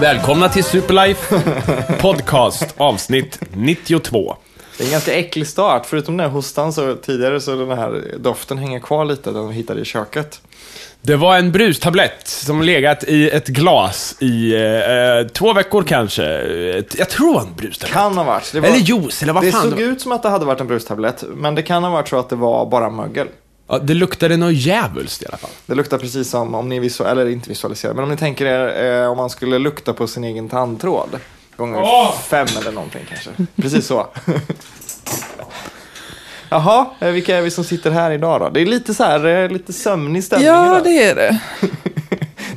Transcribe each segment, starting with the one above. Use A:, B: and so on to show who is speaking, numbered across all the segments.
A: Välkomna till Superlife Podcast avsnitt 92.
B: Det är en ganska äcklig start. Förutom den här hostan så tidigare så den här doften hänger kvar lite, den vi hittade i köket.
A: Det var en brustablett som legat i ett glas i eh, två veckor kanske. Eh, Jag tror det var en brustablett.
B: Kan ha varit. Det var,
A: Eller juice, eller vad
B: det
A: fan
B: såg
A: det var.
B: ut som att det hade varit en brustablett, men det kan ha varit så att det var bara mögel.
A: Ja, det luktade något djävulskt i alla fall.
B: Det luktar precis som om ni visualiserar, eller inte visualiserar, men om ni tänker er eh, om man skulle lukta på sin egen tandtråd. Gånger
A: Åh!
B: fem eller någonting kanske. Precis så. Jaha, eh, vilka är vi som sitter här idag då? Det är lite så här, eh, lite sömnig stämning
C: Ja,
B: idag.
C: det är det.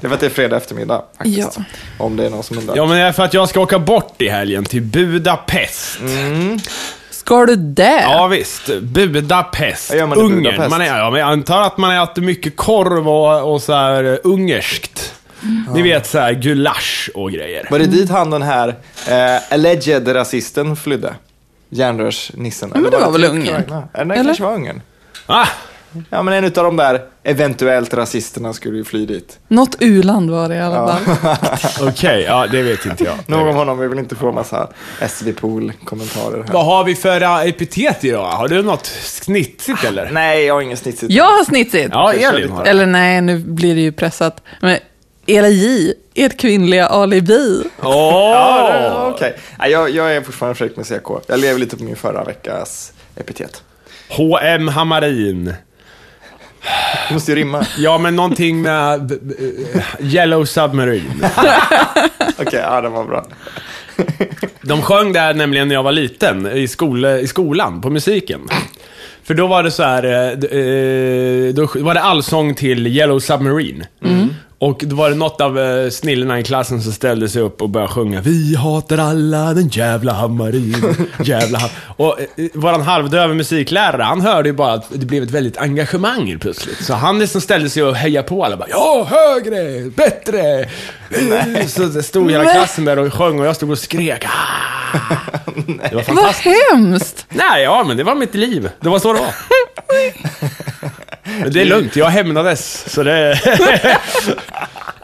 B: Det är för att det är fredag eftermiddag faktiskt.
C: Ja.
B: Om det är någon som undrar.
A: Ja, men det är för att jag ska åka bort i helgen till Budapest.
B: Mm.
C: Ska du det?
A: Ja, visst. Budapest.
B: Vad gör man i
A: Ungern.
B: Budapest?
A: Man är, ja, men jag antar att man äter mycket korv och, och så här eh, ungerskt.
B: Mm.
A: Ni vet så här gulasch och grejer.
B: Var det dit han den här eh, alleged rasisten flydde? Järnrörsnissen?
C: men det var väl Ungern?
B: Eller det typ
C: Eller?
B: kanske var Ungern.
A: Ah,
B: Ja, men en utav de där eventuellt rasisterna skulle ju fly dit.
C: Något u-land var det i alla fall.
A: Okej, ja det vet inte jag.
B: Nog om honom, vi vill inte få massa SV-pool-kommentarer här.
A: Vad har vi för äh, epitet idag? Har du något snitsigt eller?
B: Ah, Nej, jag har ingen snitsigt.
C: Jag har snitsigt.
A: Ja, Elin har det.
C: Eller nej, nu blir det ju pressat. Men era J, ert kvinnliga alibi.
A: Åh!
B: Ja, Okej, Nej, jag, jag är fortfarande Fredrik med CK. Jag lever lite på min förra veckas epitet.
A: H.M. Hammarin.
B: Det måste ju rimma.
A: Ja, men någonting med b- b- eh, Yellow Submarine.
B: Okej, ja, den var bra.
A: De sjöng där nämligen när jag var liten, i, skol, i skolan, på musiken. För då var det så här, eh, d- eh, då var det allsång till Yellow Submarine. Och då var det något av eh, snillena i klassen som ställde sig upp och började sjunga Vi hatar alla den jävla hammarin, jävla ham Och eh, våran halvdöve musiklärare, han hörde ju bara att det blev ett väldigt engagemang helt plötsligt. Så han liksom ställde sig och hejade på alla bara Ja, högre, bättre! Så stod hela
C: Nej.
A: klassen där och sjöng och jag stod och skrek ah. Det var
C: Vad
A: fantastiskt.
C: hemskt!
A: Nej, ja men det var mitt liv. Det var så det var. Men det är lugnt, jag hämnades. Så det...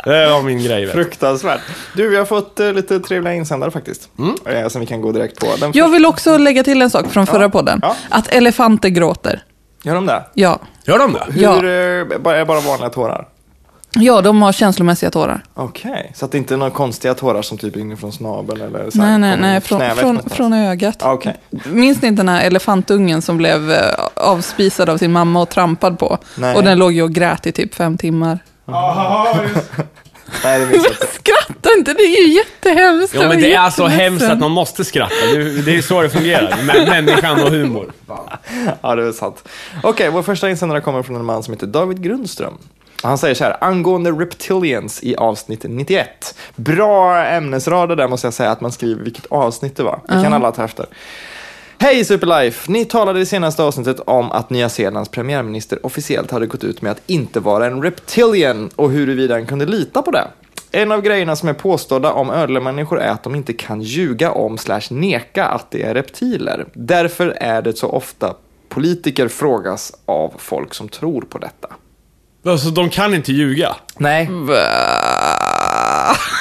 A: det var min grej. Vet.
B: Fruktansvärt. Du, vi har fått eh, lite trevliga insändare faktiskt.
C: Mm.
B: Eh, som vi kan gå direkt på. Den
C: Jag vill också lägga till en sak från förra podden.
B: ja.
C: Att elefanter gråter.
B: Gör de det?
C: Ja.
A: Gör de det?
C: Ja.
B: Hur, eh, bara- är det bara vanliga tårar?
C: ja, de har känslomässiga tårar.
B: Okej, så att det inte är några konstiga tårar som typ inifrån snabeln eller så här,
C: Nej, nej,
B: kommer
C: nej.
B: in
C: Från,
B: knäveck
C: från,
B: någonstans?
C: från ögat.
B: Ah, Okej,
C: Minns ni inte den här elefantungen som blev eh, avspisad av sin mamma och trampad på?
B: Nej.
C: Och den låg ju och grät i typ fem timmar.
B: nej det minns jag inte.
C: Skratta inte, det är ju jättehemskt.
A: Ja,
C: Jag
A: men
C: var
A: det är så
C: jätteledsen.
A: hemskt att man måste skratta. Det, det är så det fungerar. Med människan och humor.
B: Ja, det är sant. Okej, vår första insändare kommer från en man som heter David Grundström. Han säger så här, angående reptilians i avsnitt 91. Bra ämnesrader där måste jag säga att man skriver vilket avsnitt det var. Det kan alla ta efter. Hej Superlife! Ni talade i senaste avsnittet om att Nya Zeelands premiärminister officiellt hade gått ut med att inte vara en reptilian och huruvida han kunde lita på det. En av grejerna som är påstådda om ödlemänniskor är att de inte kan ljuga om slash neka att de är reptiler. Därför är det så ofta politiker frågas av folk som tror på detta.
A: Alltså, de kan inte ljuga.
B: Nej,
A: Mm.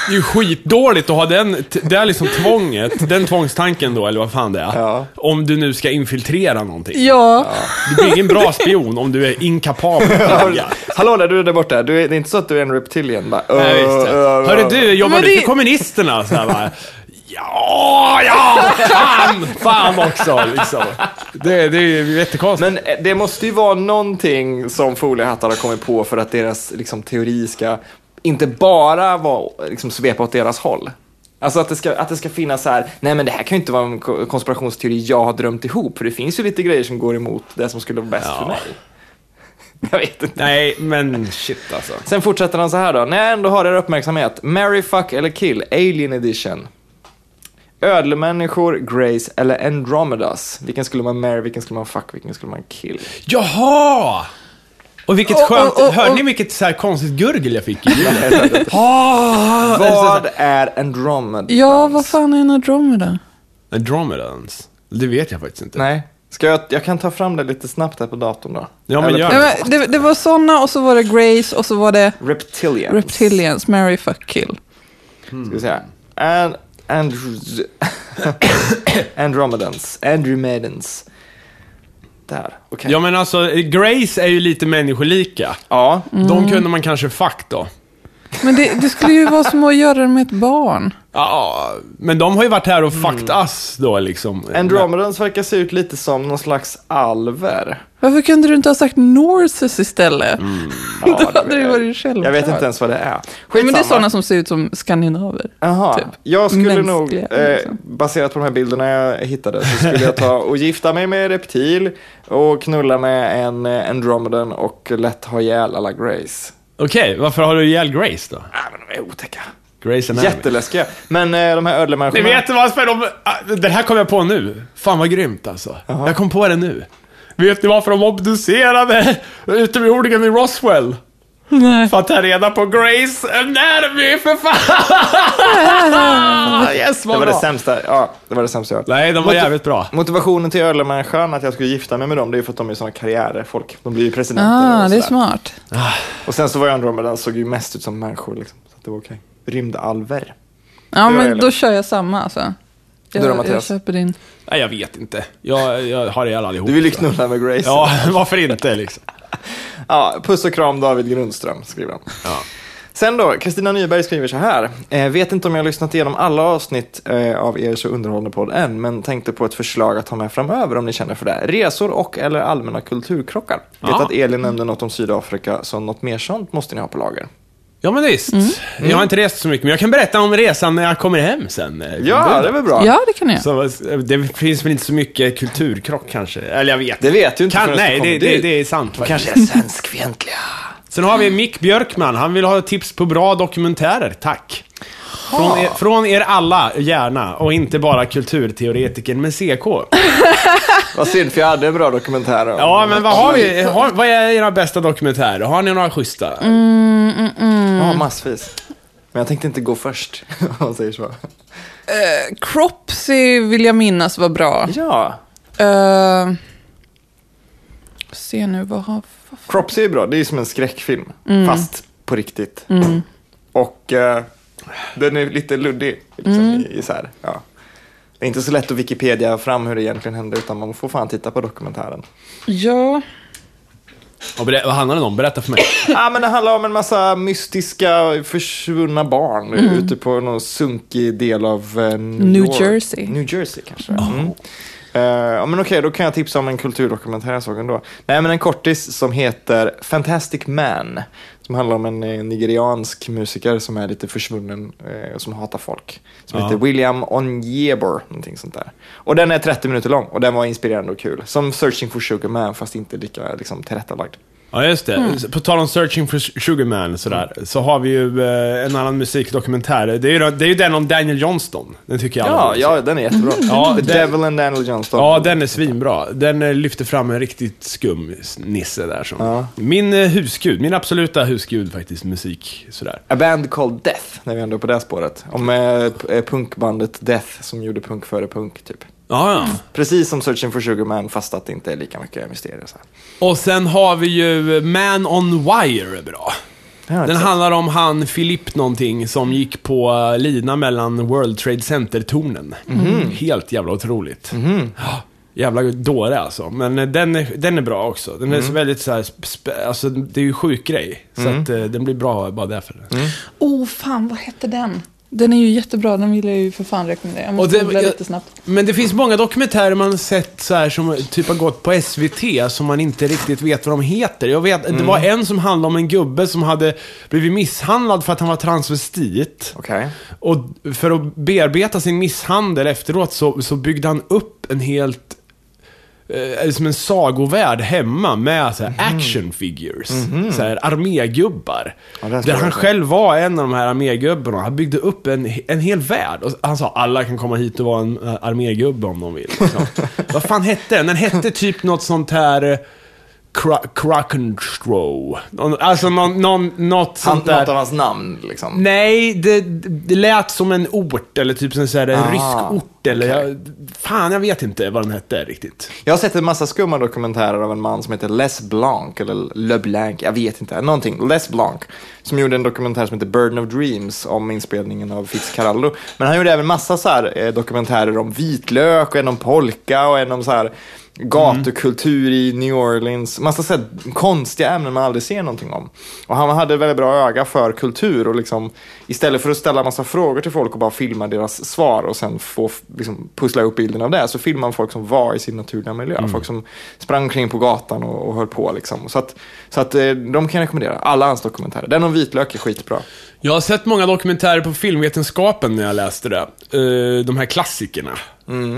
A: Det är ju skitdåligt att ha den, t- det är liksom tvånget, den tvångstanken då, eller vad fan det är.
B: Ja.
A: Om du nu ska infiltrera någonting.
C: Ja,
A: Du blir ingen bra spion om du är inkapabel att ljuga.
B: Hallå där, du är där borta. Du är, det är inte så att du är en reptilian bara.
A: Nej, visst. Hörru du, jobbar
C: Men
A: du
C: det-
A: för kommunisterna? Så här, bara, ja, ja, fan, fan också liksom. Det, det är ju jättekonstigt.
B: Men eh, det måste ju vara någonting som foliehattar har kommit på för att deras liksom, teori ska inte bara vara, liksom, svepa åt deras håll. Alltså att det, ska, att det ska finnas så här, nej men det här kan ju inte vara en ko- konspirationsteori jag har drömt ihop, för det finns ju lite grejer som går emot det som skulle vara bäst för mig. Jag vet inte.
A: Nej, men shit alltså.
B: Sen fortsätter han så här då. När jag ändå har er uppmärksamhet. Marry, fuck eller kill. Alien edition. Ödlemänniskor, Grace eller Andromedas. Vilken skulle man marry, vilken skulle man fuck, vilken skulle man kill?
A: Jaha! Och vilket
C: Och-
A: skönt,
C: och- och-
A: hörde ni
C: och-
A: vilket så här konstigt gurgel jag fick i julen? Ah,
B: Vad är Andromedas?
C: ja vad fan är en Andromeda?
A: Andromedans? Det vet jag faktiskt inte.
B: Nej. Ska jag, jag kan ta fram det lite snabbt här på datorn då.
A: Ja, men
B: Eller-
A: gör
C: Nej, men det, det var sådana och så var det Grace och så var det
B: Reptilians.
C: Reptilians, Mary Fuck Kill.
B: Ska vi säga. And, Andrews, Andromedans. Andromedans. Där, okej.
A: Ja men alltså, Grace är ju lite människolika.
B: Ja.
C: Mm.
A: De kunde man kanske fuck då.
C: Men det, det skulle ju vara som att göra det med ett barn.
A: Ja, men de har ju varit här
C: Mm.
A: och fucked us då liksom.
C: Typ.
B: Andromedans verkar se ut lite som någon slags alver.
C: Varför kunde du inte ha sagt Norses istället?
B: Ja,
C: Då hade
B: vet
C: det
B: jag.
C: varit självklart.
B: Jag vet inte ens vad det är.
C: Nej, men det är
B: Skitsamma.
C: sådana som ser ut som skandinaver.
B: Jaha,
C: typ.
B: jag skulle nog,
C: Mänskliga,
B: eh,
C: liksom.
B: baserat på de här bilderna jag hittade, så skulle jag ta och gifta mig med reptil och knulla med en eh, Andromedan och lätt ha ihjäl alla Grace.
A: Okej, varför har du ihjäl Grace då?
B: Ah, men de är otäcka.
A: Grace Anatomy.
B: Jätteläskiga. Men eh, de här
A: Ni
B: ödlemänniskorna.
A: vet varför de... ah, Det här kom jag på nu. Fan vad grymt alltså. Jag kom på det nu. Vet ni varför de obducerade utomjordingen i Roswell?
C: Nej.
A: För att ta reda på Grace Anatomy, för fan! yes,
B: Det
A: vad
B: var
A: bra.
B: det sämsta, ja, det var det sämsta jag hört.
A: Nej, de var
B: Mot-
A: jävligt bra.
B: Motivationen till ödlemänniskan att jag skulle gifta mig med dem, det är ju för att de är sådana karriärfolk. De blir ju presidenter
C: Ah,
B: och
C: det är
B: sådär.
C: smart.
B: Och sen så var jag Andromedan, såg ju mest ut som människor liksom. Så att det var okej. Rymdalver.
C: Ja,
B: Det var
C: men
B: ärligt.
C: då kör jag samma alltså.
B: Du
C: Jag,
B: då,
C: jag
B: Mattias?
C: köper din.
A: Nej, jag vet inte. Jag, jag har ihjäl allihop.
B: Du vill ju
A: tror jag.
B: knulla med Grace.
A: Ja, varför inte liksom?
B: Ja, puss och kram David Grundström, skriver han.
A: Ja.
B: Sen då, Kristina Nyberg skriver så här. Eh, vet inte om jag har lyssnat igenom alla avsnitt eh, av er så underhållande podd än, men tänkte på ett förslag att ha med framöver om ni känner för det. Resor och eller allmänna kulturkrockar. Vet
A: Ja.
B: att Elin nämnde något om Sydafrika, så något mer sånt måste ni ha på lager.
A: Ja, men visst. Jag har inte rest så mycket, men jag kan berätta om resan när jag kommer hem sen. eh,
B: Ja, det är väl bra.
C: Ja, det kan jag.
A: Så, eh, det finns väl inte så mycket kulturkrock kanske? Eller jag vet
B: Det vet du inte
A: kan,
B: förrän du
A: Nej,
B: kommer
A: det, det,
B: dit.
A: det är sant faktiskt.
B: Kanske är svenskfientliga.
A: Sen har vi Mick Björkman. Han vill ha tips på bra dokumentärer, tack. Från er, från er alla, gärna. Och inte bara kulturteoretikern med CK.
B: Vad synd, för jag hade en bra dokumentär om...
A: Ja, men vad har vi? Har, vad är era bästa dokumentärer? Har ni några schyssta?
B: Ja, massvis. Men jag tänkte inte gå först, om man säger så.
C: Cropsy vill jag minnas var bra.
B: Ja,
C: Eh, se nu, vad har... vad-
B: Cropsy är bra, det är ju som en skräckfilm, fast på riktigt. Och eh, den är lite luddig, liksom, i, isär. Ja. Det är inte så lätt att Wikipedia fram hur det egentligen hände, utan man får fan titta på dokumentären.
C: Ja,
A: Och berä- vad handlar den om? Berätta för mig.
B: ah, men det handlar om en massa mystiska försvunna barn ute på någon sunkig del av eh, New,
C: Mm. New
B: York.
C: Jersey.
B: New Jersey kanske. Mm. Eh, ja, men okej, då kan jag tipsa om en kulturdokumentär jag såg ändå. Nej, men en kortis som heter Fantastic Man. Som handlar om en eh, nigeriansk musiker som är lite försvunnen eh, och som hatar folk. Som
A: Ja.
B: heter William Onyebor, någonting sånt där. Och den är 30 minuter lång och den var inspirerande och kul. Som Searching for Sugar Man fast inte lika liksom, tillrättalagd.
A: Ja, just det. På tal om Searching for Sugarman sådär, så har vi ju eh, en annan musikdokumentär. Det är, ju, den- det är ju den om Daniel Johnston. Den tycker jag alla
B: Ja,
A: borde se.
B: ja, den är jättebra.
A: Ja,
B: The
A: den-
B: Devil and Daniel Johnston.
A: Ja, den är svinbra. Den eh, lyfter fram en riktigt skum s- nisse där. Som. Min eh, husgud, min absoluta husgud faktiskt, musik sådär.
B: A Band Called Death, när vi ändå är på det spåret. Om eh, p- eh, punkbandet Death som gjorde punk före punk, typ.
A: Ja, ja.
B: Precis som Searching for Sugar Man, fast att det inte är lika mycket mysterier. Så här.
A: Och sen har vi ju eh, Man on Wire är bra.
B: Ja,
A: Den
B: exakt.
A: handlar om han Philipp någonting som gick på eh, lina mellan World Trade Center-tornen. Helt jävla otroligt. Ja, Jävla dåre alltså. Men eh, den är, den är bra också. Den är så väldigt så här, sp- sp- alltså det är ju sjuk grej. Så att eh, den blir bra bara därför.
C: oh fan, vad hette den? Den är ju jättebra, den vill jag ju för fan rekommendera. Jag
A: Och
C: måste
A: det-
C: googla
A: jag-
C: lite snabbt.
A: Men det finns många dokumentärer man sett så här som typ har gått på SVT som man inte riktigt vet vad de heter. Jag vet, det var
B: Mm.
A: en som handlade om en gubbe som hade blivit misshandlad för att han var transvestit.
B: Okej.
A: Och för att bearbeta sin misshandel efteråt så, så byggde han upp en helt eh, som en sagovärld hemma med så här
B: Mhm.
A: action figures. Så här armégubbar.
B: Ja, det här ska
A: där
B: jag
A: han
B: se.
A: själv var en av de här armégubbarna. Han byggde upp en, en hel värld. Och han sa alla kan komma hit och vara en eh, armégubbe om de vill. Liksom. Vad fan hette den? Den hette typ något sånt här eh, Cro- Crockenstro. Någon- Alltså någon, någon, något
B: Han,
A: sånt där.
B: något av hans namn liksom.
A: Nej, det, det lät som en ort eller typ som så här, en
B: Ah,
A: rysk ort eller
B: okej.
A: jag, Fan, jag vet inte vad den hette riktigt.
B: Jag har sett en massa skumma dokumentärer av en man som heter Les Blanc, eller Le Blanc, jag vet inte, någonting, Les Blanc, som gjorde en dokumentär som heter Burden of Dreams om inspelningen av Fitzcarraldo. Men han gjorde även massa så här eh, dokumentärer om vitlök och en om polka och en om så här gatukultur i New Orleans. Massa så här konstiga ämnen man aldrig ser någonting om. Och han hade väldigt bra öga för kultur och liksom istället för att ställa massa frågor till folk och bara filma deras svar och sen få f- liksom, pussla ihop bilden av det så filmar man folk som var i sin naturliga miljö.
A: Mm.
B: Folk som sprang omkring på gatan och, och höll på liksom. Så att, så att eh, de kan jag rekommendera. Alla hans dokumentärer. Den om vitlök är skitbra.
A: Jag har sett många dokumentärer på filmvetenskapen när jag läste det. Eh, de här klassikerna.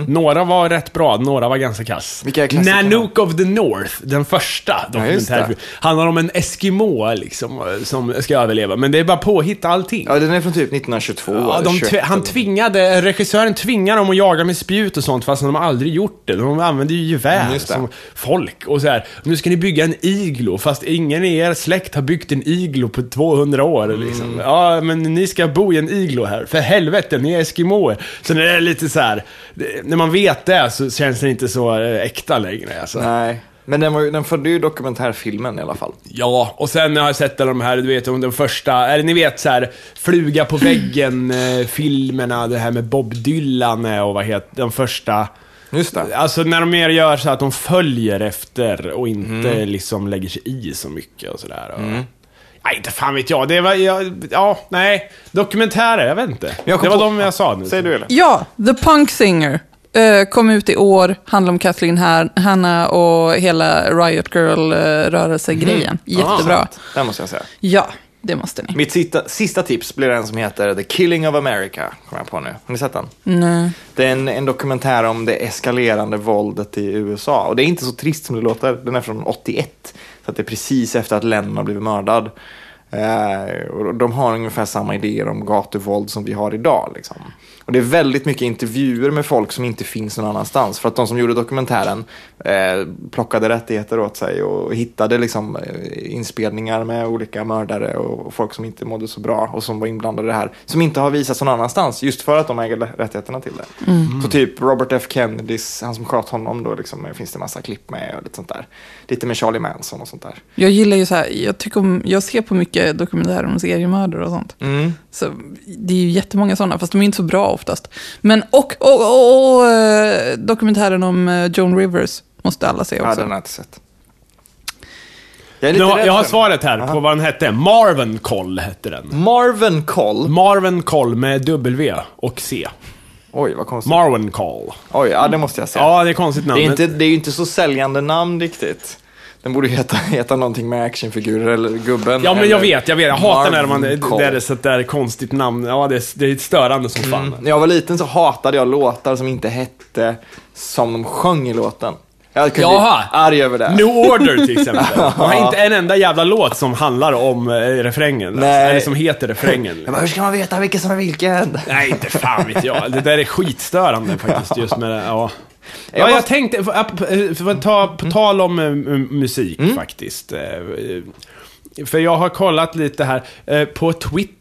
A: Några var rätt bra, några var ganska kass.
B: Mm. Vilka är klassikerna?
A: Nanook of the North, den första
B: just det.
A: dokumentären. handlar om en Eskimo liksom, eh, som ska överleva. Men det är bara påhitta allting.
B: Ja, den är från typ 1922.
A: Ja,
B: eller
A: de
B: 21
A: tv- han
B: eller-
A: tvingade, regissören tvingade dem att jaga med spjut och sånt fast de har aldrig gjort det. De använde ju
B: Mm,
A: gevär
B: just det.
A: som folk och så här. Nu ska ni bygga en iglo fast ingen i er släkt har byggt en iglo på 200 år
B: Mm.
A: liksom. Ja, men ni ska bo i en iglo här. För helvete, ni är eskimoer. Så det är lite så här. det- när man vet det så känns det inte så eh, äkta längre. Alltså.
B: Nej, men den, var, ju- den följde ju dokumentärfilmen i alla fall.
A: Ja, och sen har jag sett de här, du vet, om den första, eller ni vet så här, fluga på väggen-filmerna, det här med Bob Dylan eh, och vad heter den första...
B: Just det.
A: Alltså när de mer gör så här att de följer efter och inte
B: Mm.
A: liksom lägger sig i så mycket och sådär. och- Nej, inte fan vet jag. Det var, jag, ja, nej. Dokumentärer, jag vet inte.
B: Jag kom
A: det var
B: på-
A: de jag sa nu.
B: Säger du eller?
C: Ja, The Punk Singer. eh, kom ut i år, handlar om Kathleen Han- Hanna och hela Riot Girl-rörelse-grejen.
A: Mm. Ah,
C: Jättebra.
B: Den måste jag säga.
C: Ja, det måste ni.
B: Mitt sista, sista tips blir en som heter The Killing of America. Kommer jag på nu. Har ni sett den?
C: Nej.
B: Det är en, en dokumentär om det eskalerande våldet i USA. Och det är inte så trist som det låter. Den är från 81. Så att det är precis efter att Lennon har blivit mördad. Eh, och de har ungefär samma idéer om gatuvåld som vi har idag. Liksom. Och det är väldigt mycket intervjuer med folk som inte finns någon annanstans. För att de som gjorde dokumentären eh, plockade rättigheter åt sig och hittade liksom, eh, inspelningar med olika mördare och folk som inte mådde så bra och som var inblandade i det här. Som inte har visats någon annanstans just för att de äger rättigheterna till det.
C: Mm.
B: Så typ Robert F Kennedys, han som sköt honom då, liksom, eh, finns det massa klipp med och lite sånt där. Lite med Charlie Manson och sånt där.
C: Jag gillar ju så här, jag, tycker om, jag ser på mycket dokumentärer om seriemördare och sånt.
B: Mm.
C: Så det är ju jättemånga sådana, fast de är inte så bra oftast. Men och, och, och, och eh, dokumentären om eh, Joan Rivers måste alla se
B: Ja,
C: också.
B: den har jag inte sett. Jag, är
A: Nu
B: lite Mm.
A: har,
B: rädd
A: jag har
B: för den.
A: svaret här
B: Aha.
A: på vad den hette. Marvin Call hette den.
B: Marvin
A: Mm.
B: Call.
A: Marvin Call med W och C.
B: Oj, vad konstigt.
A: Marvin Call.
B: Oj, ja, det måste jag säga.
A: Ja, det är konstigt namn.
B: det, är
A: men-
B: inte, det är ju inte så säljande namn riktigt. Den borde ju heta, heta någonting med actionfigurer eller gubben.
A: Ja, men
B: eller
A: jag vet, jag vet. Jag hatar när man,
B: Marvin
A: det
B: Cole.
A: är ett sånt där konstigt namn. Ja, det är, det är störande som fan.
B: När jag var liten så hatade jag låtar som inte hette som de sjöng i låten. Jag kunde
A: Jaha.
B: bli arg över det.
A: New Order till exempel. De har inte en enda jävla låt som handlar om eh, refrängen.
B: Nej.
A: Eller som heter refrängen.
B: Jag bara, hur ska man veta vilken som är vilken?
A: Nej, inte fan vet jag. Det där är skitstörande faktiskt, just med det. Ja. Ja,
B: Jag
A: jag
B: måste- Mm.
A: tänkte, för att- för att ta, på tal om eh, m- musik faktiskt. eh, eh, För jag har kollat lite här eh, på Twitter.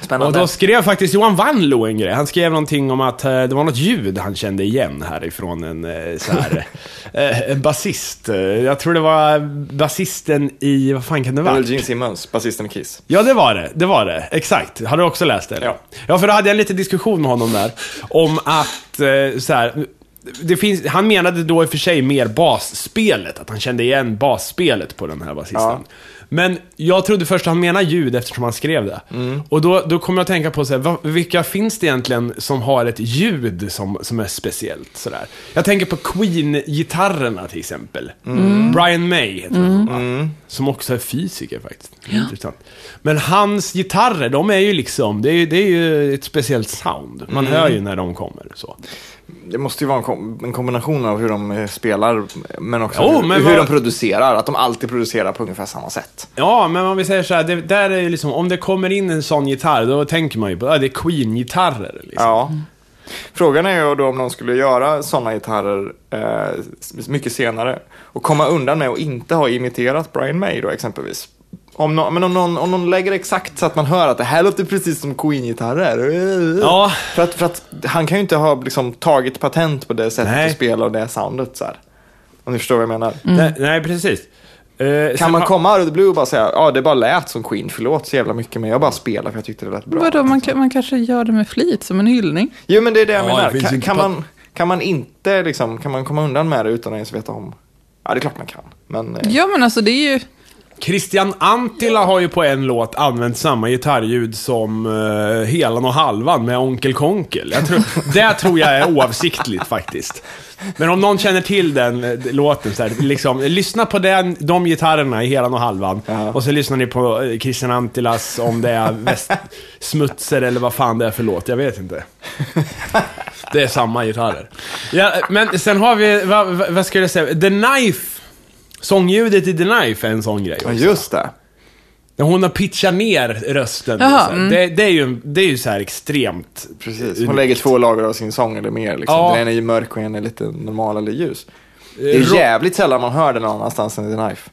B: Spännande.
A: Och då skrev faktiskt Johan Wanlo en grej. Han skrev någonting om att eh, det var något ljud han kände igen härifrån en eh, så här, eh, en basist. Eh, Jag tror det var basisten i, vad fan kan det
B: Det var
A: vara?
B: väl Gene Simmons, basisten i Kiss.
A: Ja, det var det. Det var det. Exakt. Har du också läst det? eller?
B: Ja.
A: ja, för då hade jag en liten diskussion med honom där. Om att, eh, så här, det finns, han menade då i och för sig mer basspelet, att han kände igen basspelet på den här basisten.
B: Ja.
A: Men jag trodde först att han menade ljud eftersom han skrev det.
B: Mm.
A: Och då, då kom jag att tänka på så här, vad, vilka finns det egentligen som har ett ljud som, som är speciellt? Så där? Jag tänker på Queen-gitarrerna till exempel.
B: Mm.
A: Brian May heter han, va? Som också är fysiker faktiskt. Intressant. Men hans gitarrer, de är ju liksom, det är, ju- det är ju ett speciellt sound. Man
B: Mm.
A: hör ju när de kommer. Så.
B: Det måste ju vara en, kom- en kombination av hur de eh, spelar, men också
A: Jo,
B: hur,
A: men
B: hur
A: vad-
B: de producerar. Att de alltid producerar på ungefär samma sätt.
A: Ja, men om vi säger så här, det, där är ju liksom, om det kommer in en sån gitarr, då tänker man ju på, ja, det är Queen-gitarrer. Liksom.
B: Ja. Frågan är ju då om de skulle göra sådana gitarrer eh, s- mycket senare och komma undan med att inte ha imiterat Brian May då exempelvis. Om nå- men om någon, om någon lägger exakt så att man hör att det här låter precis som Queen-gitarrer.
A: Ja.
B: För att, för att han kan ju inte ha liksom, tagit patent på det sättet
A: Nej. Mm.
B: att spela och det soundet. Så här. Om ni förstår vad jag menar.
A: Nej, nej, precis. Eh,
B: Kan
A: sen
B: man
A: har-
B: komma out of the blue och bara säga ja det bara lät som Queen, förlåt så jävla mycket men jag bara spelar för jag tyckte det lät bra.
C: Vadå, man, kan- man kanske gör det med flit som en hyllning.
B: Jo men det är det jag
A: Ja,
B: menar.
A: det finns
B: Kan,
A: inte
B: kan,
A: pat-
B: man, kan man inte liksom, kan man komma undan med det utan att ens veta om? Ja det är klart man kan. Men eh,
C: Ja, men alltså det är ju...
A: Christian Antila har ju på en låt använt samma gitarrljud som eh, Helan och Halvan med Onkel Konkel. Jag tror, det tror jag är oavsiktligt faktiskt. Men om någon känner till den eh, låten så här, liksom, lyssna på den, de gitarrerna i Helan och Halvan.
B: Ja.
A: Och så lyssnar ni på eh, Christian Antilas om det är väst, smutser eller vad fan det är för låt, jag vet inte. Det är samma gitarrer. Ja, men sen har vi, vad, vad, vad ska jag säga, The Knife. Sångljudet i The Knife är en sån grej.
B: ja, just det.
A: När hon har pitchat ner rösten.
C: Jaha,
A: så här.
C: mm.
A: det, det är ju, en- det är ju så här extremt.
B: Precis. Hon lägger två lager av sin sång eller mer. Liksom.
A: Ja. Eh,
B: Den ena är ju mörk och den är lite normal eller ljus. Det är
A: Ro-
B: jävligt sällan man hör den någon annanstans än i The Knife.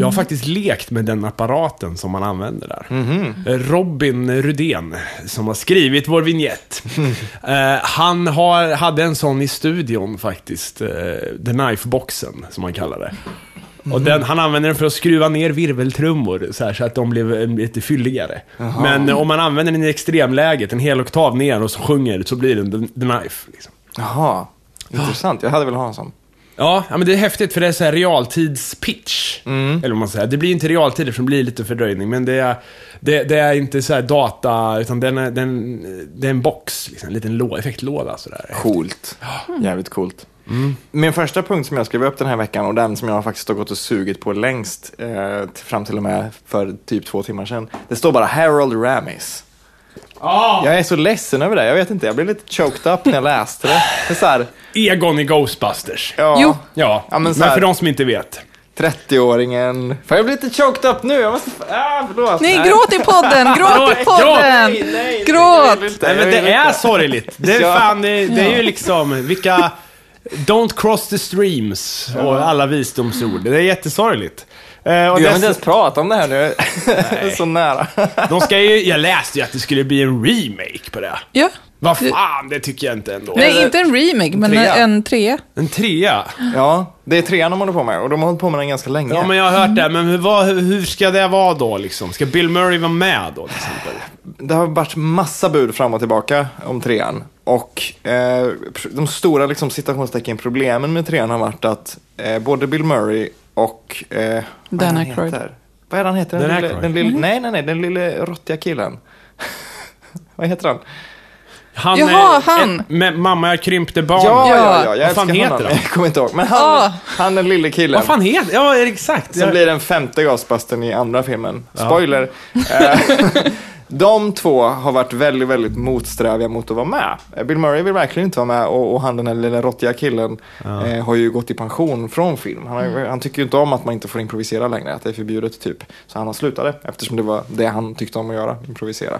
A: Jag har faktiskt lekt med den apparaten som man använder där.
C: Mhm.
A: Eh, Robin Rudén, som har skrivit vår vignett. Eh, han har, hade en sån i studion faktiskt. eh, The Knife-boxen, som man kallar det. Och
C: Mhm.
A: den, han använder den för att skruva ner virveltrummor så, här, så att de blev eh, lite fylligare. Men eh, om man använder den i extremläget, en hel oktav ner och så sjunger, så blir den The, the Knife. Liksom.
B: Jaha, intressant. Jag hade velat ha en sån.
A: Ja, ja, men det är häftigt för det är så här realtidspitch.
B: Mm.
A: Eller vad man säger. Det blir inte realtid eftersom det blir lite fördröjning. Men det är, det, det är inte så här data, utan den är, den, det är en box. Liksom, en liten lå, effektlåda sådär.
B: Coolt. Jävligt coolt. Min första punkt som jag skrev upp den här veckan och den som jag faktiskt har gått och sugit på längst eh, till- fram till och med för typ två timmar sedan. Det står bara Harold Ramis. Jag är så ledsen över det. Jag vet inte, jag blev lite choked up när jag läste det. det är så här,
A: Egon i Ghostbusters.
B: ja,
C: Jo.
A: Ja,
B: Ja, men
A: men,
B: så här-
A: för de som inte vet.
B: 30-åringen. Fan, jag blir lite choked up nu. Jag måste... Ah, förlåt.
C: Nej, gråt i podden! Gråt i
A: Gråt, gråt.
C: podden!
B: Nej, nej, jag vill
C: Gråt!
B: inte,
A: Nej, men
B: jag vill
A: det är
B: inte.
A: sorgligt. Det är,
B: Ja.
A: fan, det, det är ju liksom, vilka... Don't cross the streams och alla visdomsord. Det är jättesorgligt. Eh, och
B: Gud, jag vill
A: dess-
B: inte ens prata om det här nu. Jag är så nära.
A: de ska ju, jag läste ju att det skulle bli en remake på det.
C: Ja.
A: Vad fan, det tycker jag inte ändå.
C: Nej, inte en remake, men
B: Trea.
C: en trea.
A: En trea?
B: Ja, det är trean de håller på med och de har hållit på med den ganska länge.
A: Ja, men jag har hört det. Men hur, vad, hur ska det vara då liksom? Ska Bill Murray vara med då till exempel?
B: Det har varit massa bud fram och tillbaka om trean. Och eh, de stora liksom, citationstecken problemen med trean har varit att eh, både Bill Murray och... Eh, vad är
C: Dan
B: han
C: Aykroyd. Mm.
B: heter? Vad är han heter? Den,
A: Dan
B: lille,
A: Aykroyd.
B: den lille, nej, nej, nej, den lille råttiga killen. vad heter han?
A: Han
C: Jaha,
A: är-
C: han.
A: ett- med mamma, jag krympte barn.
B: Ja, ja, ja, jag
A: Vad fan
B: älskar
A: heter
B: honom.
A: han?
B: Jag kommer inte ihåg. Men han,
C: Ah.
B: han är den lille killen.
A: Vad fan heter Ja, exakt.
B: Som
A: Jag-
B: blir den femte Ghostbustern i andra filmen. Spoiler. Eh, De två har varit väldigt, väldigt motsträviga mot att vara med. Eh, Bill Murray vill verkligen inte vara med och, och han den här lilla råttiga killen eh, har ju gått i pension från film. Han, har,
A: Mm.
B: ju- han tycker ju inte om att man inte får improvisera längre, att det är förbjudet typ. Så han har slutade eftersom det var det han tyckte om att göra, improvisera.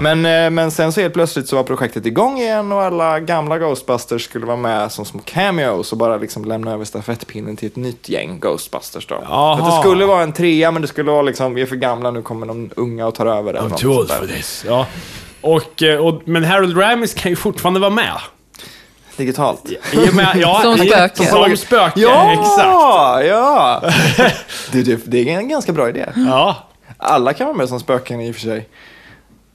B: Men, eh, men sen så helt plötsligt så var projektet igång igen och alla gamla Ghostbusters skulle vara med som små cameos och bara liksom lämna över stafettpinnen till ett nytt gäng Ghostbusters då.
A: Jaha.
B: Att det skulle vara en trea men det skulle vara liksom, vi är för gamla, nu kommer de unga och tar över. eller
A: I'm
B: något
A: too old
B: sånt där.
A: for this. Ja. Och, eh, och, men Harold Ramis kan ju fortfarande vara med.
B: Digitalt.
A: I och med ja,
C: Som
A: i-
C: spöke.
A: Som spöke,
B: Ja,
A: exakt.
B: ja. du, det, det är en ganska bra idé.
A: Ja.
B: Alla kan vara med som spöken i och för sig.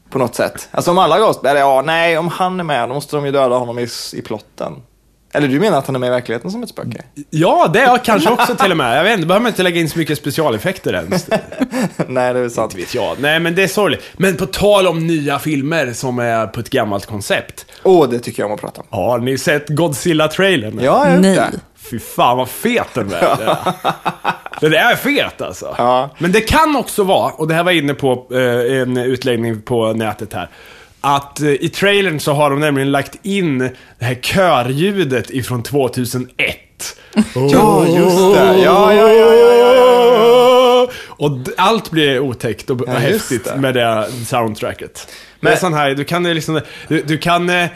B: På något sätt. Alltså om alla Ghost, eller ja, nej, om han är med då måste de ju döda honom i, i plotten. Eller du menar att han är med i verkligheten som ett spöke?
A: ja, det är jag kanske också till och med. Jag vet inte, behöver man inte lägga in så mycket specialeffekter ens.
B: nej, det är väl sant.
A: Inte vet jag. Nej, men det är sorgligt. Men på tal om nya filmer som är på ett gammalt koncept.
B: Åh, det tycker jag om att prata om.
A: Har ni sett Godzilla-trailern?
B: Ja, jag vet
C: Nej.
B: det.
A: Fy fan vad fet den är. den är fet alltså.
B: Ja.
A: Men det kan också vara, och det här var jag inne på eh, en utläggning på nätet här. Att eh, i trailern så har de nämligen lagt in det här körljudet ifrån 2001.
B: Ja, just det. Ja, ja, ja, ja, ja, ja.
A: Och d- allt blir otäckt och b-
B: Ja, just
A: häftigt
B: det.
A: med det soundtracket. Men, det är sån här, du kan eh, liksom, du, du kan eh,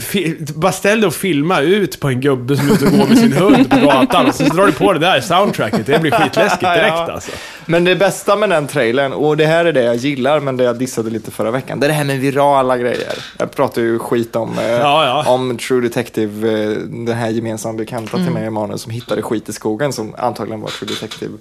A: fi- Bara ställ dig och filma ut på en gubbe som är ute och går med sin hund på gatan. Och så drar du på det där soundtracket. Det blir skitläskigt direkt
B: Ja.
A: alltså.
B: Men det bästa med den trailern, och det här är det jag gillar, men det jag dissade lite förra veckan, det är det här med virala grejer. Jag pratar ju skit om, eh,
A: Ja, ja.
B: om True Detective, eh, den här gemensamma bekanta till mig och Emanuel som hittade skit i skogen som antagligen var True Detective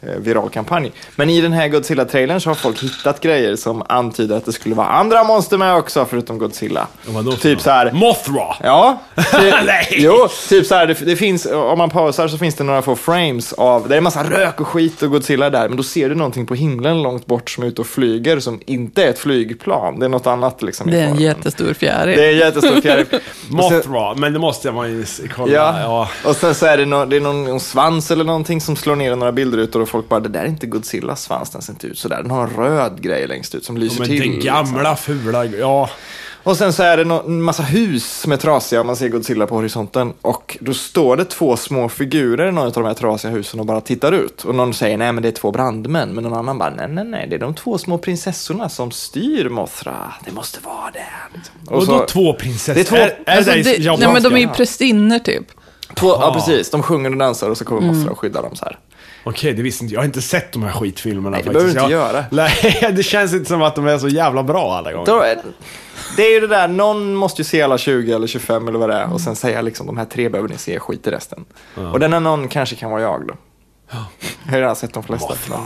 B: eh, viral kampanj. Men i den här Godzilla-trailern så har folk hittat grejer som antyder att det skulle vara andra monster med också, förutom Godzilla.
A: Vadå för
B: Typ
A: något?
B: så här,
A: Mothra!
B: Ja, det,
A: Nej.
B: jo, typ så här, det, det finns, om man pausar så finns det några få frames av, det är en massa rök och skit och Godzilla där, men då ser du någonting på himlen långt bort som är ute och flyger som inte är ett flygplan, det är något annat liksom. i
C: Det är en
B: formen.
C: jättestor fjäril.
B: det är en jättestor fjäril. Och sen-
A: Mothra, men det måste man ju s- kolla.
B: Ja.
A: Ja.
B: och sen så är det, nå det är någon, någon svans eller någonting som slår ner i några bildrutor och folk bara, det där är inte Godzillas svans, den ser inte ut sådär. Den har en röd grej längst ut som lyser
A: Men
B: till.
A: den gamla fula... Ja.
B: Och sen så är det nå- en massa hus som är trasiga och man ser Godzilla på horisonten. Och då står det två små figurer i någon av de här trasiga husen och bara tittar ut. Och någon säger nej men det är två brandmän. Men någon annan bara nej nej nej det är de två små prinsessorna som styr Mothra. Det måste vara det. Liksom.
A: Och
B: så-
A: då två prinsessor?
B: Det är två-
A: är
C: Alltså,
A: det,
C: det,
A: japanska?
C: nej, men de är ju prästinnor typ.
B: två ja precis, de sjunger och dansar och så kommer Mothra och skyddar dem så här.
A: Okej, det visste inte jag. har inte sett de här skitfilmerna
B: Nej, det
A: faktiskt.
B: behöver du
A: jag, Nej, det känns inte som att de är så jävla bra alla gånger.
B: Då är, det är ju det där, någon måste ju se alla 20 eller 25 eller vad det är och sen säga liksom de här tre behöver ni se, skit i resten. Och den här någon kanske kan vara jag då. Jag har ju redan sett de flesta. Men,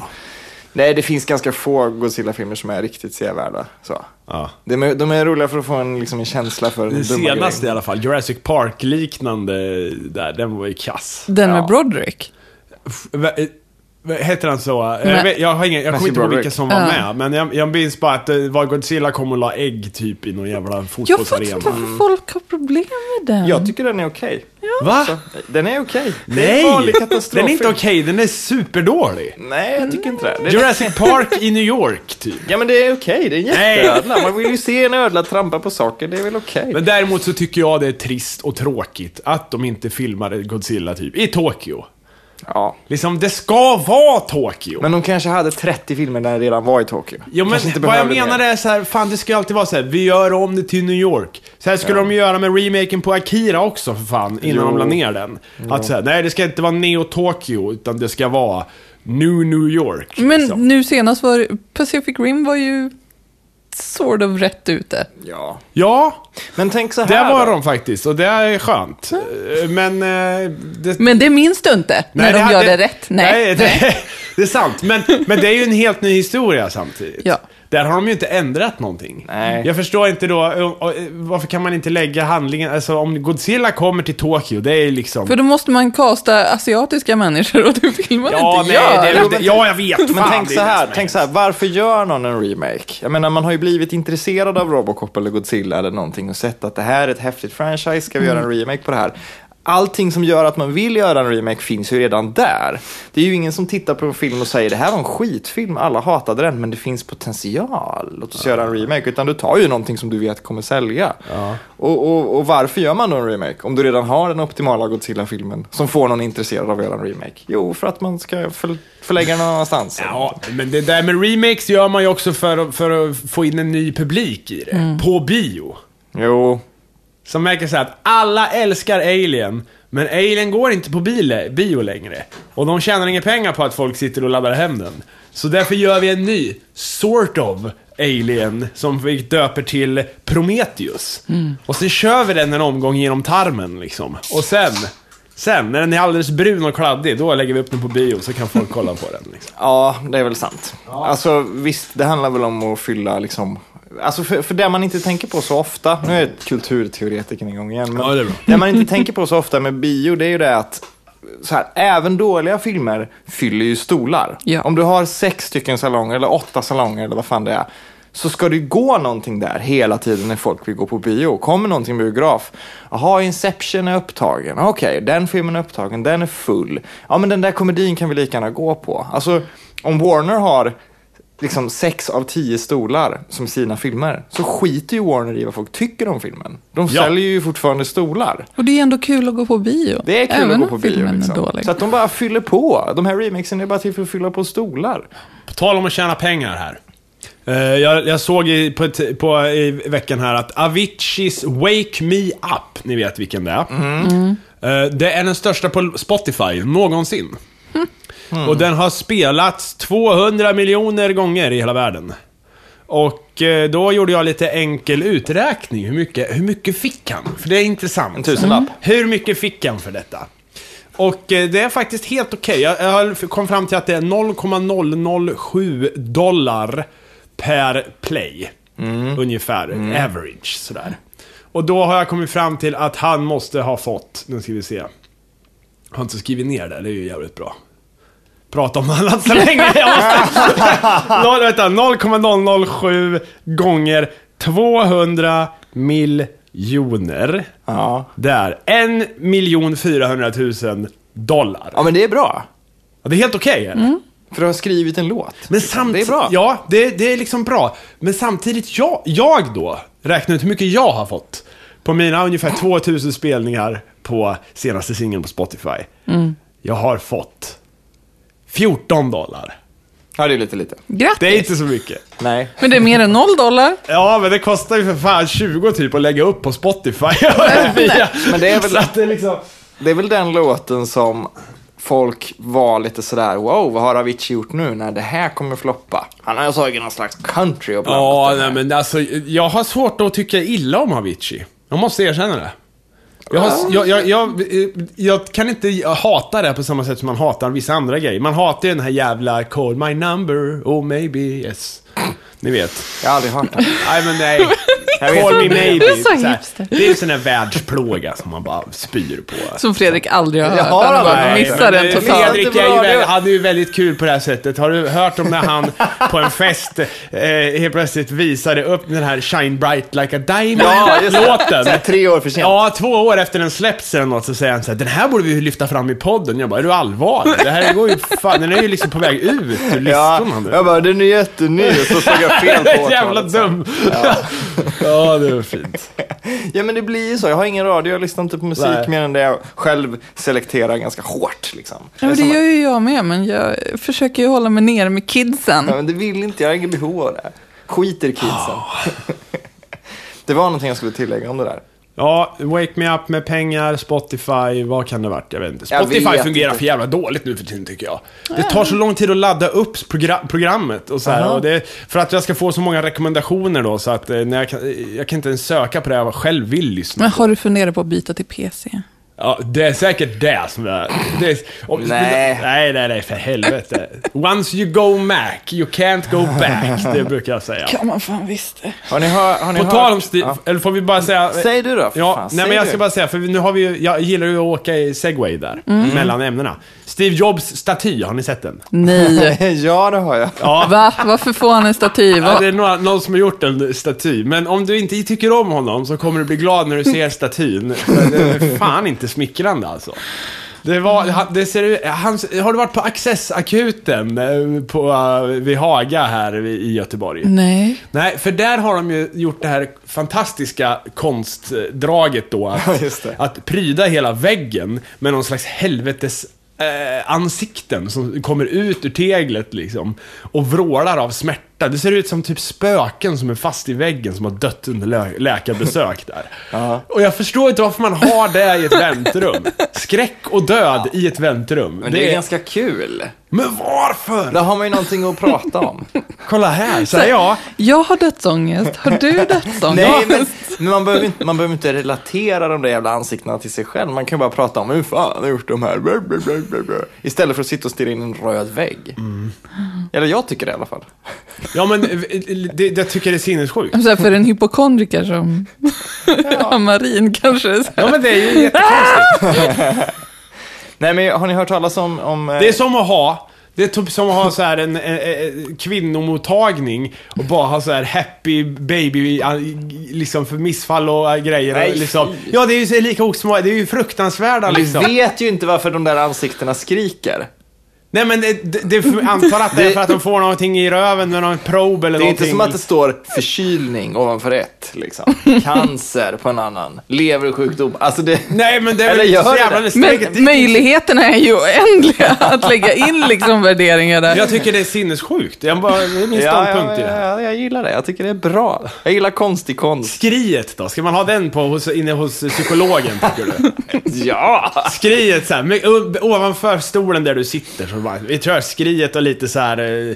B: nej, det finns ganska få Godzilla-filmer som är riktigt sevärda. Så.
A: Ja.
B: De, är, de är roliga för att få en, liksom, en känsla för den
A: Den
B: dumma
A: senaste i
B: grejen.
A: alla fall, Jurassic Park-liknande där, den var ju kass.
C: Den
B: Ja.
C: med Broderick.
A: F- va- eh, va- Heter han så? Eh,
C: Nej.
A: Jag, vet, jag, har ingen, jag kommer
B: Matthew
A: inte ihåg
B: Broderick.
A: vilka som var
C: Ja.
A: med, men jag, jag minns bara att det var Godzilla kom och la ägg typ i någon jävla
C: Jag fattar inte
A: fotbollsarena.
C: varför folk har problem med den.
B: Jag tycker den är okej.
A: Va?
B: Så, Den är okej. Det är en
A: Nej!
B: vanlig katastroffilm.
A: Den är inte okej, den är superdålig.
B: Nej, jag tycker inte det. det är
A: Jurassic Park i New York, typ.
B: Ja, men det är okej. Det är en
A: Nej.
B: jätteödla. Man vill ju se en ödla trampa på saker. Det är väl okej.
A: Men däremot så tycker jag det är trist och tråkigt att de inte filmade Godzilla typ i Tokyo.
B: Ja.
A: Liksom, det ska vara Tokyo.
B: Men de kanske hade 30 filmer när det redan var i Tokyo.
A: Jo, men
B: kanske
A: vad jag
B: behövde
A: menar
B: mer.
A: är så här, fan det ska ju alltid vara så här, vi gör om det till New York. Så här skulle de ju göra med remaken på Akira också för fan, innan de la ner den. Att så här, nej det ska inte vara Neo Tokyo, utan det ska vara New New York.
C: Men
A: liksom.
C: nu senast var Pacific Rim var ju sort of rätt ute.
B: Ja.
A: Ja,
B: Men tänk så här.
A: det var
B: då.
A: de faktiskt och det är skönt. Eh, Men... eh, Det,
C: Men det minns du inte när de
A: här-
C: gör det rätt. Nej.
A: det, det är sant. Men, men det är ju en helt ny historia samtidigt.
C: Ja.
A: Där har de ju inte ändrat någonting.
B: Nej.
A: Jag förstår inte då, och- och, varför kan man inte lägga handlingen, alltså om Godzilla kommer till Tokyo, det är ju liksom...
C: För då måste man kasta asiatiska människor och det vill man
A: ja,
C: inte
A: nej,
C: göra.
A: det är väl inte, ja, jag vet.
B: Men
A: fan,
B: tänk
A: det är liksom-
B: så,
A: det
B: här,
A: som är
B: tänk så här, varför gör någon en remake? Jag menar, man har ju blivit intresserad av Robocop eller Godzilla eller någonting och sett att det här är ett häftigt franchise, ska vi göra en remake på det här? Allting som gör att man vill göra en remake finns ju redan där. Det är ju ingen som tittar på en film och säger det här var en skitfilm, alla hatade den, men det finns potential, låt oss göra en remake. Utan du tar ju någonting som du vet kommer sälja. Och, och, och varför gör man då en remake? Om du redan har den optimala Godzilla-filmen som får någon intresserad av att göra en remake? Jo, för att man ska för, förlägga den någon annanstans.
A: Ja, men det där med remakes gör man ju också för, att- för att få in en ny publik i det.
C: Mm.
A: På bio.
B: Jo,
A: Som märker så här att alla älskar Alien, men Alien går inte på bile, bio längre. Och de tjänar inga pengar på att folk sitter och laddar hem den. Så därför gör vi en ny, sort of, Alien som vi döper till Prometheus. Och sen kör vi den en omgång genom tarmen liksom. Och sen, sen när den är alldeles brun och kladdig, då lägger vi upp den på bio så kan folk kolla på den. Liksom.
B: ja det är väl sant. Alltså visst, det handlar väl om att fylla liksom Alltså för, för det man inte tänker på så ofta, nu är jag kulturteoretikern igång igen, men
A: Ja, det är bra.
B: man inte tänker på så ofta med bio det är ju det att så här, även dåliga filmer fyller ju stolar.
C: Ja.
B: Om du har sex stycken salonger eller åtta salonger eller vad fan det är, så ska det ju gå någonting där hela tiden när folk vill gå på bio. Kommer någonting biograf? Jaha, Inception är upptagen. Okej, den filmen är upptagen, den är full. Ja, men den där komedin kan vi lika gärna gå på. Alltså, om Warner har liksom sex av tio stolar som sina filmer, så skiter ju Warner i vad folk tycker om filmen. De
A: Ja.
B: säljer ju fortfarande stolar.
C: Och det är ändå kul att gå på bio.
B: Det är kul
C: Även
B: att gå på
C: om
B: bio.
C: filmen är
B: Liksom.
C: dålig.
B: Så att de bara fyller på. De här remixen är bara till för att fylla på stolar.
A: På tal om att tjäna pengar här. Eh, jag, jag såg i, på, ett, på, i veckan här att Aviciis Wake Me Up, ni vet vilken det är. Eh, det är den största på Spotify någonsin.
B: Mm.
A: Och den har spelats 200 miljoner gånger i hela världen. Och eh, då gjorde jag lite enkel uträkning. Hur mycket, hur mycket fick han? För det är intressant. Mm.
B: En tusenlapp.
A: Hur mycket fick han för detta? Och eh, det är faktiskt helt okej. Jag, jag kom fram till att det är 0,007 dollar per play.
B: Mm.
A: Ungefär. Average sådär. Och då har jag kommit fram till att han måste ha fått, nu ska vi se. Jag har inte skrivit ner det, det är ju jävligt bra. Prata om annat så länge jag måste. Noll- vänta, 0,007 gånger 200 miljoner.
B: Ja.
A: Där. 1 miljon 400 000 dollar.
B: ja, men det är bra.
A: Ja, det är helt okej. eller?
B: För du har skrivit en låt.
A: Men samt...
B: Det är bra.
A: Ja, det, det är liksom bra. Men samtidigt, jag, jag då räknar ut hur mycket jag har fått på mina ungefär 2000 spelningar på senaste singeln på Spotify.
B: Mm.
A: Jag har fått 14 dollar.
B: Ja, det är lite lite.
C: Grattis!
A: Det är inte så mycket.
B: Nej.
C: Men det är mer än noll dollar.
A: Ja, men det kostar ju för fan 20 typ att lägga upp på Spotify.
B: Men det är väl-
A: Så att det är liksom...
B: Det är väl den låten som folk var lite sådär, wow, vad har Avicii gjort nu när det här kommer floppa? Han har ju tagit någon slags country och blandat
A: Ja,
B: det
A: nej,
B: med.
A: men alltså, jag har svårt att tycka illa om Avicii. Jag måste erkänna det. Jag, har, jag, jag, jag, eh, jag kan inte hata det på samma sätt som man hatar vissa andra grejer. Man hatar ju den här jävla Call My Number, Oh Maybe Yes. Ni vet.
B: Jag har aldrig hört den.
A: Nej, men nej.
B: Jag vet
A: Call Me
B: inte.
A: Maybe.
C: Du är så
A: här.
C: hipster.
A: det är ju sån där världsplåga som man bara spyr på. alltså.
C: Som Fredrik aldrig har hört.
B: har
C: Han bara
B: aldrig.
A: men,
C: missar den
A: eh,
C: totalt.
A: Fredrik
B: Det
A: är
B: var
A: ju
B: det.
A: väl, hade ju väldigt kul på det här sättet. Har du hört om när han på en fest eh, helt plötsligt visade upp den här Shine Bright Like a
B: Ja, just det.
A: Diamond-låten?
B: Såhär tre år för sent.
A: Ja, två år efter den släppts eller något så säger han så här, den här borde vi ju lyfta fram i podden. Jag bara, är du allvarlig? Det här går ju fan, den är ju liksom på väg ut ur listorna nu.
B: jag bara, den är jätteny och så såg jag fel
A: Det
B: på
A: är jävla
B: årtalet, så.
A: dum. Ja. ja, det var fint.
B: Ja men det blir ju så, jag har ingen radio, jag lyssnar inte på musik
A: Nej.
B: mer än det jag själv selekterar ganska hårt liksom.
C: Ja, men
B: det,
C: det
B: är
C: gör
B: som,
C: ju jag med, men jag försöker ju hålla mig nere med kidsen.
B: ja, men det vill inte, jag har inget behov av det. Skiter kidsen. det var någonting jag skulle tillägga om det där.
A: Ja, Wake Me Up med pengar, Spotify, vad kan det ha varit? Jag vet inte.
B: Jag
A: Spotify
B: vet
A: fungerar
B: inte.
A: för jävla dåligt nu för tiden tycker jag. Det tar så lång tid att ladda upp progra- programmet och så här, och det, För att jag ska få så många rekommendationer då så att eh, när jag, kan, jag kan inte ens söka på det jag själv vill lyssna
C: Men
A: på.
C: har du funderat på att byta till PC?
A: Ja, det är säkert det som är... Det är om,
B: Nej.
A: nej, nej, nej, för helvete. Once you go Mac, you can't go back. Det brukar jag säga.
C: Ja, man fan visste.
B: Har ni, hör, har ni
A: På
B: hört?
A: tal om stil,
B: Ja.
A: eller får vi bara säga...
B: Säg du då, för
A: Ja,
B: fan,
A: nej
B: säg
A: men jag
B: du.
A: ska bara säga, för nu har vi ju, jag gillar ju att åka i segway där,
B: Mm.
A: mellan ämnena. Steve Jobs staty, har ni sett den?
C: Nej.
B: ja, det har jag.
C: Va? Varför får han en staty?
A: Ja,
C: Va?
A: det är några, någon som har gjort en staty, men om du inte tycker om honom så kommer du bli glad när du ser statyn. För det är fan inte smickrande alltså. Det var, han- det ser, ut- han, har du varit på Accessakuten eh, på, eh, vid Haga här i Göteborg?
C: Nej.
A: Nej, för där har de ju gjort det här fantastiska konstdraget då. Att,
B: just det.
A: att pryda hela väggen med någon slags helvetes eh, ansikten som kommer ut ur teglet liksom. Och vrålar av smärta. Det ser ut som typ spöken som är fast i väggen som har dött under lä läkarbesök där. Och jag förstår inte varför man har det i ett väntrum. Skräck och död i ett väntrum.
B: Men det, är ganska kul.
A: Men varför?
B: Där har man ju någonting att prata om.
A: Kolla här, säger jag.
C: Jag har dödsångest. Har du dödsångest?
B: Nej, men, men man, behöver inte, man behöver inte relatera de där jävla ansiktena till sig själv. Man kan ju bara prata om hur fan har jag gjort de här. Blah, blah, blah, blah, blah. Istället för att sitta och stirra in i en röd vägg. Eller jag tycker det i alla fall.
A: Ja men eh, det, jag tycker det är sinnessjukt.
C: Så här, för en hypokondriker som Amarin kanske. så här.
A: Ja men det är ju jättekonstigt.
B: Nej, men har ni hört talas om... om eh,
A: Det är som att ha, det är typ som att ha så här en, en, en kvinnomottagning och bara ha så här happy baby, eh, liksom för missfall och eh, grejer.
B: Nej,
A: och liksom.
B: fy.
A: Ja det är ju så lika osmakligt, det är ju fruktansvärda
B: Vi
A: liksom.
B: vet ju inte varför de där ansiktena skriker.
A: Nej men det, det, det antar att det är för att de får någonting i röven med någon prob eller
B: Det är
A: någonting.
B: inte som att det står förkylning ovanför ett, liksom. Cancer på en annan. Leversjukdom. Alltså det...
A: Nej men det är
B: Eller
A: väl
B: gör
A: så
B: det?
A: jävla
C: Men
A: det.
C: möjligheterna är ju oändliga att lägga in liksom värderingar där.
A: Jag tycker det är sinnessjukt. Jag bara, det är min
B: Ja,
A: ståndpunkt
B: ja,
A: i det
B: ja,
A: här.
B: ja, jag gillar det. Jag tycker det är bra. Jag gillar konstig konst.
A: Skriet då? Ska man ha den på, hos, inne hos psykologen tycker du?
B: Ja!
A: Skriet så här, med, o- ovanför stolen där du sitter. Så bara, vi tror jag skriet och lite så här. eh,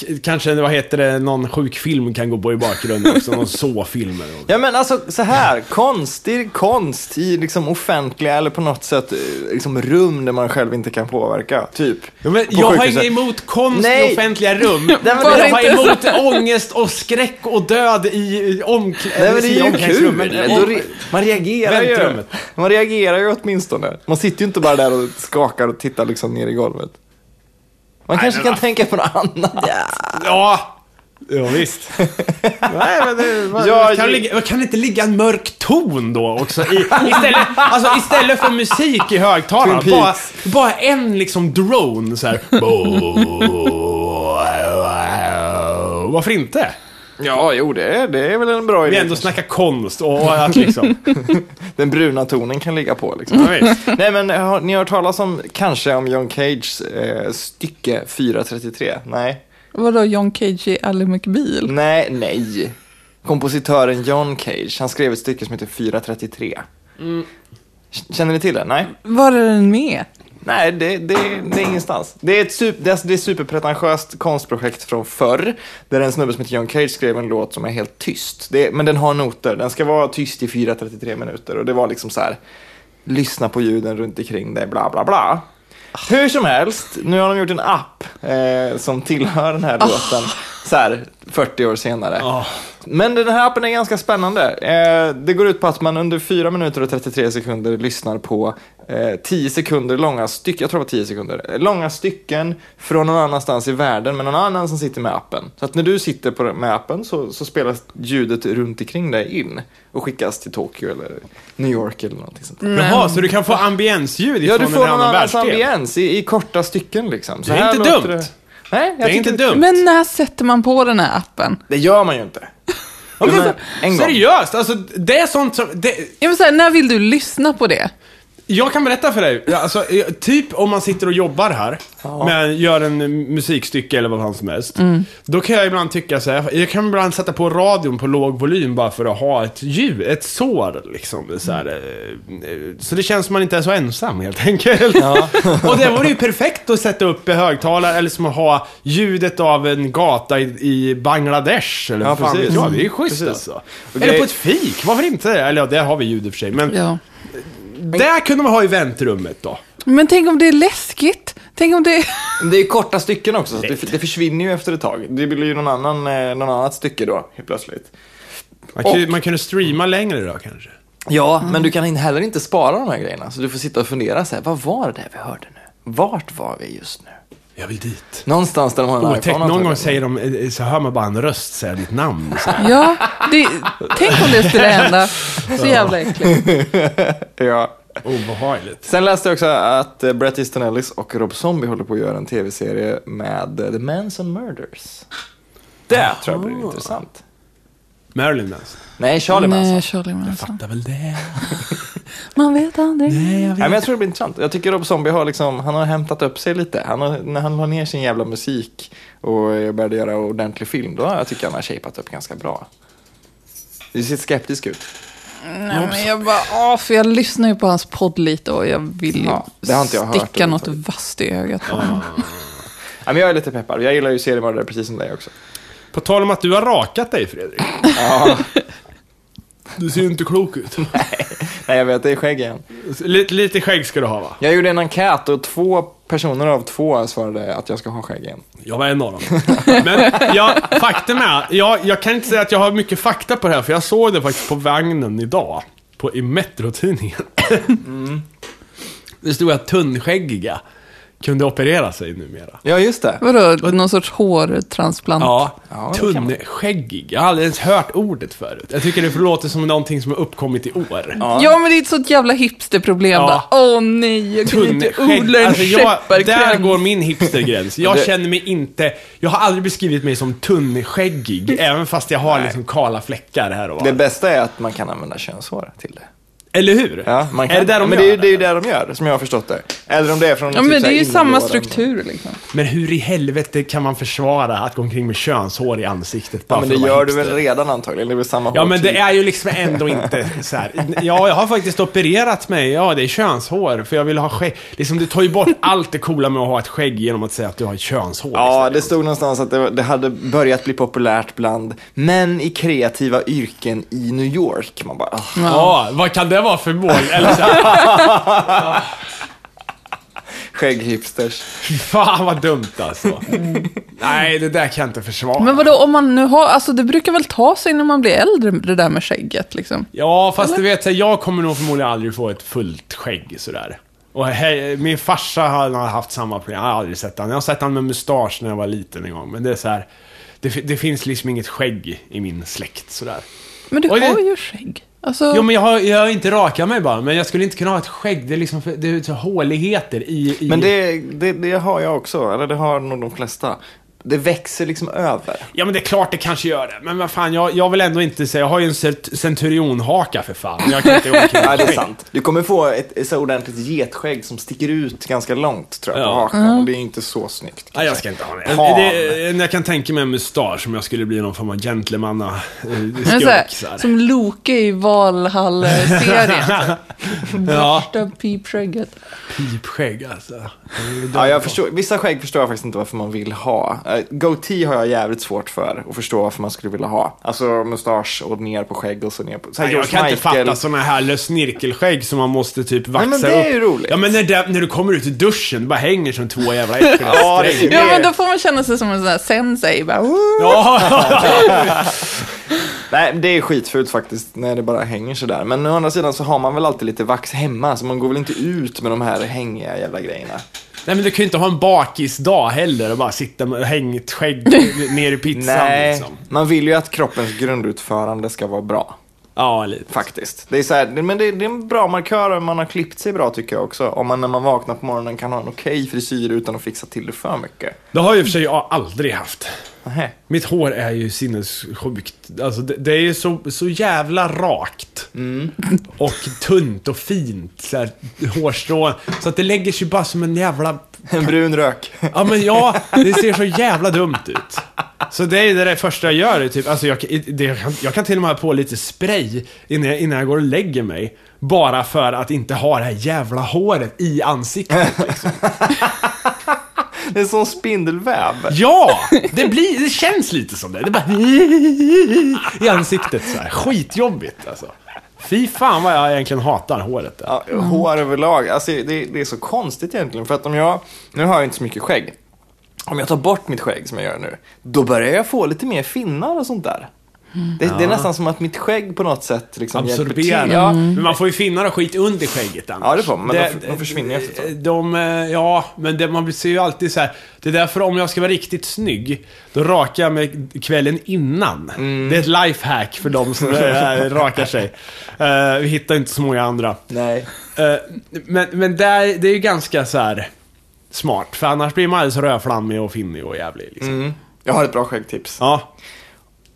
A: k- Kanske, vad heter det, någon sjuk film kan gå på i bakgrunden också. Någon så-film eller något.
B: Ja men alltså så här, konst är konst i liksom offentliga eller på något sätt eh, liksom rum där man själv inte kan påverka, typ.
A: Ja, men
B: På
A: jag har
B: sjukhuset.
A: inget emot konst i
B: Nej.
A: offentliga rum.
B: men
A: men
C: det-
A: jag har
C: inte så.
A: emot ångest och skräck och död i, i omkläd-
B: Nej men det
A: i
B: är ju kul!
A: omklädningsrummet.
B: Men Då re- man reagerar ju.
A: Väntrummet.
B: Man reagerar ju åtminstone. Man sitter ju inte bara där och skakar och tittar liksom ner i golvet. Man kanske
A: men
B: kan
A: vad-
B: tänka på något annat.
A: Ja, ja visst. Nej, men det, vad,
B: Ja,
A: kan,
B: ju-
A: det ligga, kan det inte ligga en mörk ton då också? I, istället, alltså, istället för musik i högtalarna,
B: Twin
A: bara,
B: Peaks.
A: bara en liksom drone så här. Varför inte?
B: Ja, jo det är, det är väl en bra
A: Vi
B: idé.
A: ändå snackar konst och och att liksom...
B: Den bruna tonen kan ligga på liksom.
A: Ja, visst.
B: Nej men har, ni har hört talas om, kanske om John Cages eh, stycke 433? Nej.
C: Vadå John Cage i Ally McBeal?
B: Nej, nej. Kompositören John Cage, han skrev ett stycke som heter 433.
A: Mm.
B: K- Känner ni till det? Nej,
C: Var är den med?
B: nej det, det, det är ingenstans. Det är ett super, det är, det är ett superpretentiöst konstprojekt från förr, där en snubbe som heter John Cage skrev en låt som är helt tyst. Det, men den har noter, den ska vara tyst i 433 minuter och det var liksom så här, lyssna på ljuden runt omkring dig, bla bla bla. Hur som helst, nu har de gjort en app eh, som tillhör den här låten, så här 40 år senare.
A: Ja.
B: Men den här appen är ganska spännande. Eh, det går ut på att man under 4 minuter och 33 sekunder lyssnar på eh, 10 sekunder långa stycken, jag tror det var 10 sekunder, eh, långa stycken från någon annanstans i världen med någon annan som sitter med appen. Så att när du sitter på, med appen så, så spelas ljudet runt omkring dig in och skickas till Tokyo eller New York eller någonting sånt. där.
A: Jaha, så du kan få ambiensljud
B: Ja,
A: ifrån
B: du får
A: en
B: någon
A: annan
B: annans
A: världsdel?
B: ambiens i, i korta stycken liksom. Så
A: Det är
B: här
A: inte
B: låter
A: dumt.
B: Nej, jag
A: Det är
B: tycker
A: inte dumt.
C: Men när sätter man på den här appen?
B: Det gör man ju inte.
A: Ja, men
B: Men
A: så-
B: en gång.
A: Seriöst, alltså det är sånt som... Det,
C: Jag vill säga, när vill du lyssna på det?
A: jag kan berätta för dig, Ja, alltså, eh, typ om man sitter och jobbar här, men gör en eh, musikstycke eller vad fan som helst.
B: Mm.
A: Då kan jag ibland tycka så här, jag kan ibland sätta på radion på låg volym bara för att ha ett ljud, ett sår liksom. Så, här,
B: Mm.
A: eh, eh, så det känns som man inte är så ensam helt enkelt. och det vore ju perfekt att sätta upp i högtalare eller som att ha ljudet av en gata i, i Bangladesh. Eller
B: Ja,
A: vad fan
B: precis.
A: vet jag, det är ju schysst
B: Precis.
A: alltså.
B: Och det-
A: Eller på ett fik, varför inte? Eller ja, där har vi ljud i och för sig. Men,
C: Ja.
A: där kunde man ha i väntrummet då.
C: Men tänk om det är läskigt? Tänk om det...
B: Det är korta stycken också, så att det, det försvinner ju efter ett tag. Det blir ju någon annan, eh, någon annat stycke då, helt plötsligt.
A: Man kunde, man kunde streama längre då kanske.
B: Ja, men du kan in- heller inte spara de här grejerna. Så du får sitta och fundera så här, vad var det där vi hörde nu? Vart var vi just nu?
A: Jag vill dit.
B: Någonstans där de har en
A: Otäckt, någon gång
B: antagligen.
A: säger de, eh, så hör man bara en röst säga ditt namn. Så här.
C: Ja, det... tänk om det skulle hända. Så jävla äckligt.
B: Ja.
A: Obehagligt.
B: Sen läste jag också att eh, Bret Easton Ellis och Rob Zombie håller på att göra en tv-serie med eh, The Manson Murders. Det tror jag blir intressant.
A: Marilyn Manson.
B: Nej, Charlie Manson.
C: Nej, Charlie Manson.
A: Fattar väl det.
C: Man vet aldrig.
A: Nej, jag
B: Nej,
A: vet.
B: men jag tror det blir intressant. Jag tycker Rob Zombie har, liksom, han har hämtat upp sig lite. Han har, när han la ner sin jävla musik och eh, började göra ordentlig film, då har jag tycker jag han har shapat upp ganska bra. Du ser skeptisk ut.
C: Nej, men jag bara, åh, för jag lyssnar ju på hans podd lite och jag vill ju
B: Ja, det har inte jag hört
C: sticka något
B: överhuvudtaget.
C: vasst i ögat på honom.
B: Ja, men jag är lite peppad. Jag gillar ju seriemördare precis som dig också.
A: På tal om att du har rakat dig Fredrik.
B: Ja,
A: Du ser ju inte klok ut.
B: nej, jag vet, det är skägg igen.
A: lite, lite skägg ska du ha va?
B: Jag gjorde en enkät och två personer av två svarade att jag ska ha skägg igen.
A: Jag var en av dem. Men jag, faktum är, jag, jag kan inte säga att jag har mycket fakta på det här, för jag såg det faktiskt på vagnen idag. På, I Metro-tidningen. Det stod att tunnskäggiga kunde operera sig numera.
B: Ja, just det.
C: Vadå, någon sorts hårtransplant?
A: Ja,
B: Ja, det kan man.
A: tunnskäggig. Jag har aldrig ens hört ordet förut. Jag tycker det låter som någonting som har uppkommit i år.
C: Ja, men det är ett sånt jävla hipsterproblem
A: Ja.
C: bara. Åh nej, jag kunde inte odla en
A: Alltså, jag, där
C: skepparkrans.
A: går min hipstergräns. Jag
B: Det-
A: känner mig inte... Jag har aldrig beskrivit mig som tunnskäggig, även fast jag har liksom kala fläckar här och
B: Det
A: var.
B: bästa är att man kan använda könshår till det.
A: Eller hur?
B: Ja, man kan.
A: Är det där de
B: men
A: gör
B: det, är, det är ju
A: det?
B: det de gör, som jag har förstått det. Eller om det är från
C: Ja,
B: typ
C: men
B: så
C: det
B: här
C: är ju samma
B: inlåren.
C: struktur liksom.
A: Men hur i helvete kan man försvara att gå omkring med könshår i ansiktet bara
B: Ja, men
A: för
B: det
A: att
B: gör
A: vara
B: du
A: hipster?
B: väl redan antagligen? Det är väl samma typ.
A: Ja,
B: hårtyp.
A: men det är ju liksom ändå inte så här. Ja, jag har faktiskt opererat mig. Ja, det är könshår, för jag vill ha skägg. Liksom, du tar ju bort allt det coola med att ha ett skägg genom att säga att du har ett könshår.
B: Ja,
A: istället.
B: det stod någonstans att det, det hade börjat bli populärt bland män i kreativa yrken i New York. Man bara, ah.
A: liksom. Ja, vad kan det vara för mål? Eller så här,
B: skägghipsters.
A: fan vad dumt alltså. Nej, det där kan jag inte försvara.
C: Men vadå, om man nu har, alltså det brukar väl ta sig när man blir äldre, det där med skägget liksom.
A: Ja, fast du vet, så här, jag kommer nog förmodligen aldrig få ett fullt skägg sådär. Och he- min farsa har har haft samma problem, jag har aldrig sett han. Jag har sett han med mustasch när jag var liten en gång, men det är så här. Det, fi- det finns liksom inget skägg i min släkt
B: Mm.
A: sådär.
C: Men du
A: Oj, det-
C: har ju skägg. Alltså,
A: Jo men jag har, jag har inte rakat mig bara, men jag skulle inte kunna ha ett skägg. Det är liksom för, det är så håligheter i... i
B: Men det, det, det har jag också, eller det har nog de flesta. Det växer liksom över.
A: Ja men det är klart det kanske gör det. Men vad fan, jag, jag vill ändå inte säga... Jag har ju en cent- centurionhaka för fan. Jag kan inte gå omkring
B: Ja,
A: med
B: det är
A: skägg.
B: sant. Du kommer få ett, ett så ordentligt getskägg som sticker ut ganska långt tror jag, på
A: Ja.
B: hakan. Och det är inte så snyggt.
A: Nej, jag ska inte ha det.
B: Pan.
A: det eh, jag kan tänka mig en mustasch om jag skulle bli någon form av gentlemanna eh,
C: men så här,
A: skurk, så här.
C: som Loke i Valhall-serien.
A: Ja,
C: Borsta pipskägget.
A: pipskägg alltså.
B: Ja, jag förstår, vissa skägg förstår jag faktiskt inte varför man vill ha. Eh, Goatee har jag jävligt svårt för att förstå varför man skulle vilja ha. Alltså mustasch och ner på skägg och så ner på... Så här,
A: Nej, jag
B: George
A: kan inte
B: Michael.
A: fatta såna här snirkelskägg som man måste typ vaxa
B: men det är ju
A: upp.
B: roligt.
A: Ja, men när, det, när du kommer ut ur duschen, det bara hänger som två jävla äckliga
B: Ja, det är
A: sträng.
C: Ja, men då får man känna sig som en sån här sensei. Bara, "Woo!"
A: Ja,
B: Nej, det är skitfult faktiskt när det bara hänger sådär. Men å andra sidan så har man väl alltid lite vax hemma så man går väl inte ut med de här hängiga jävla grejerna.
A: Nej men du kan ju inte ha en bakisdag heller och bara sitta med hängt skägg ner i pizzan
B: Nej,
A: liksom.
B: man vill ju att kroppens grundutförande ska vara bra.
A: Ja, lite.
B: Faktiskt. Det är, så här, det- men det, det är en bra markör om man har klippt sig bra tycker jag också. Om man när man vaknar på morgonen kan ha en okej frisyr utan att fixa till det för mycket.
A: Det har ju i och för sig jag aldrig haft.
B: Nähä.
A: Mitt hår är ju sinnessjukt. Alltså det, det är ju så, så jävla rakt. Och tunt och fint. Så här, hårstrån. Så att det lägger sig bara som en jävla...
B: En brun rök.
A: Ja men ja, det ser så jävla dumt ut. Så det är ju det där första jag gör. är Typ, alltså jag, kan- det, jag, kan, jag kan till och med ha på lite spray innan jag, innan jag går och lägger mig. Bara för att inte ha det här jävla håret i ansiktet.
B: Det är som spindelväv.
A: Ja! Det, blir, det känns lite som det. Det är bara i ansiktet så här. Skitjobbigt alltså. Fy fan vad jag egentligen hatar håret där.
B: Ja, hår överlag. Alltså, det, det är så konstigt egentligen. För att om jag, nu har jag inte så mycket skägg. Om jag tar bort mitt skägg som jag gör nu, då börjar jag få lite mer finnar och sånt där. Det, det är nästan som att mitt skägg på något sätt liksom hjälper
A: Absorbera.
B: till. Ja,
A: Mm. Men man får ju finnar och skit under skägget annars.
B: Ja, det får man, men de- de försvinner ju efter ett tag.
A: De, eh, ja, men det, man ser ju alltid så här. Det är därför om jag ska vara riktigt snygg, då rakar jag mig kvällen innan.
B: Mm.
A: Det är ett lifehack för de som eh, rakar sig. Eh, vi hittar inte så många andra.
B: Nej.
A: Eh, men men där, det är ju ganska så här smart, för annars blir man alldeles rödflammig och finnig och jävlig. Liksom.
B: Mm. Jag har ett bra skäggtips.
A: Ja.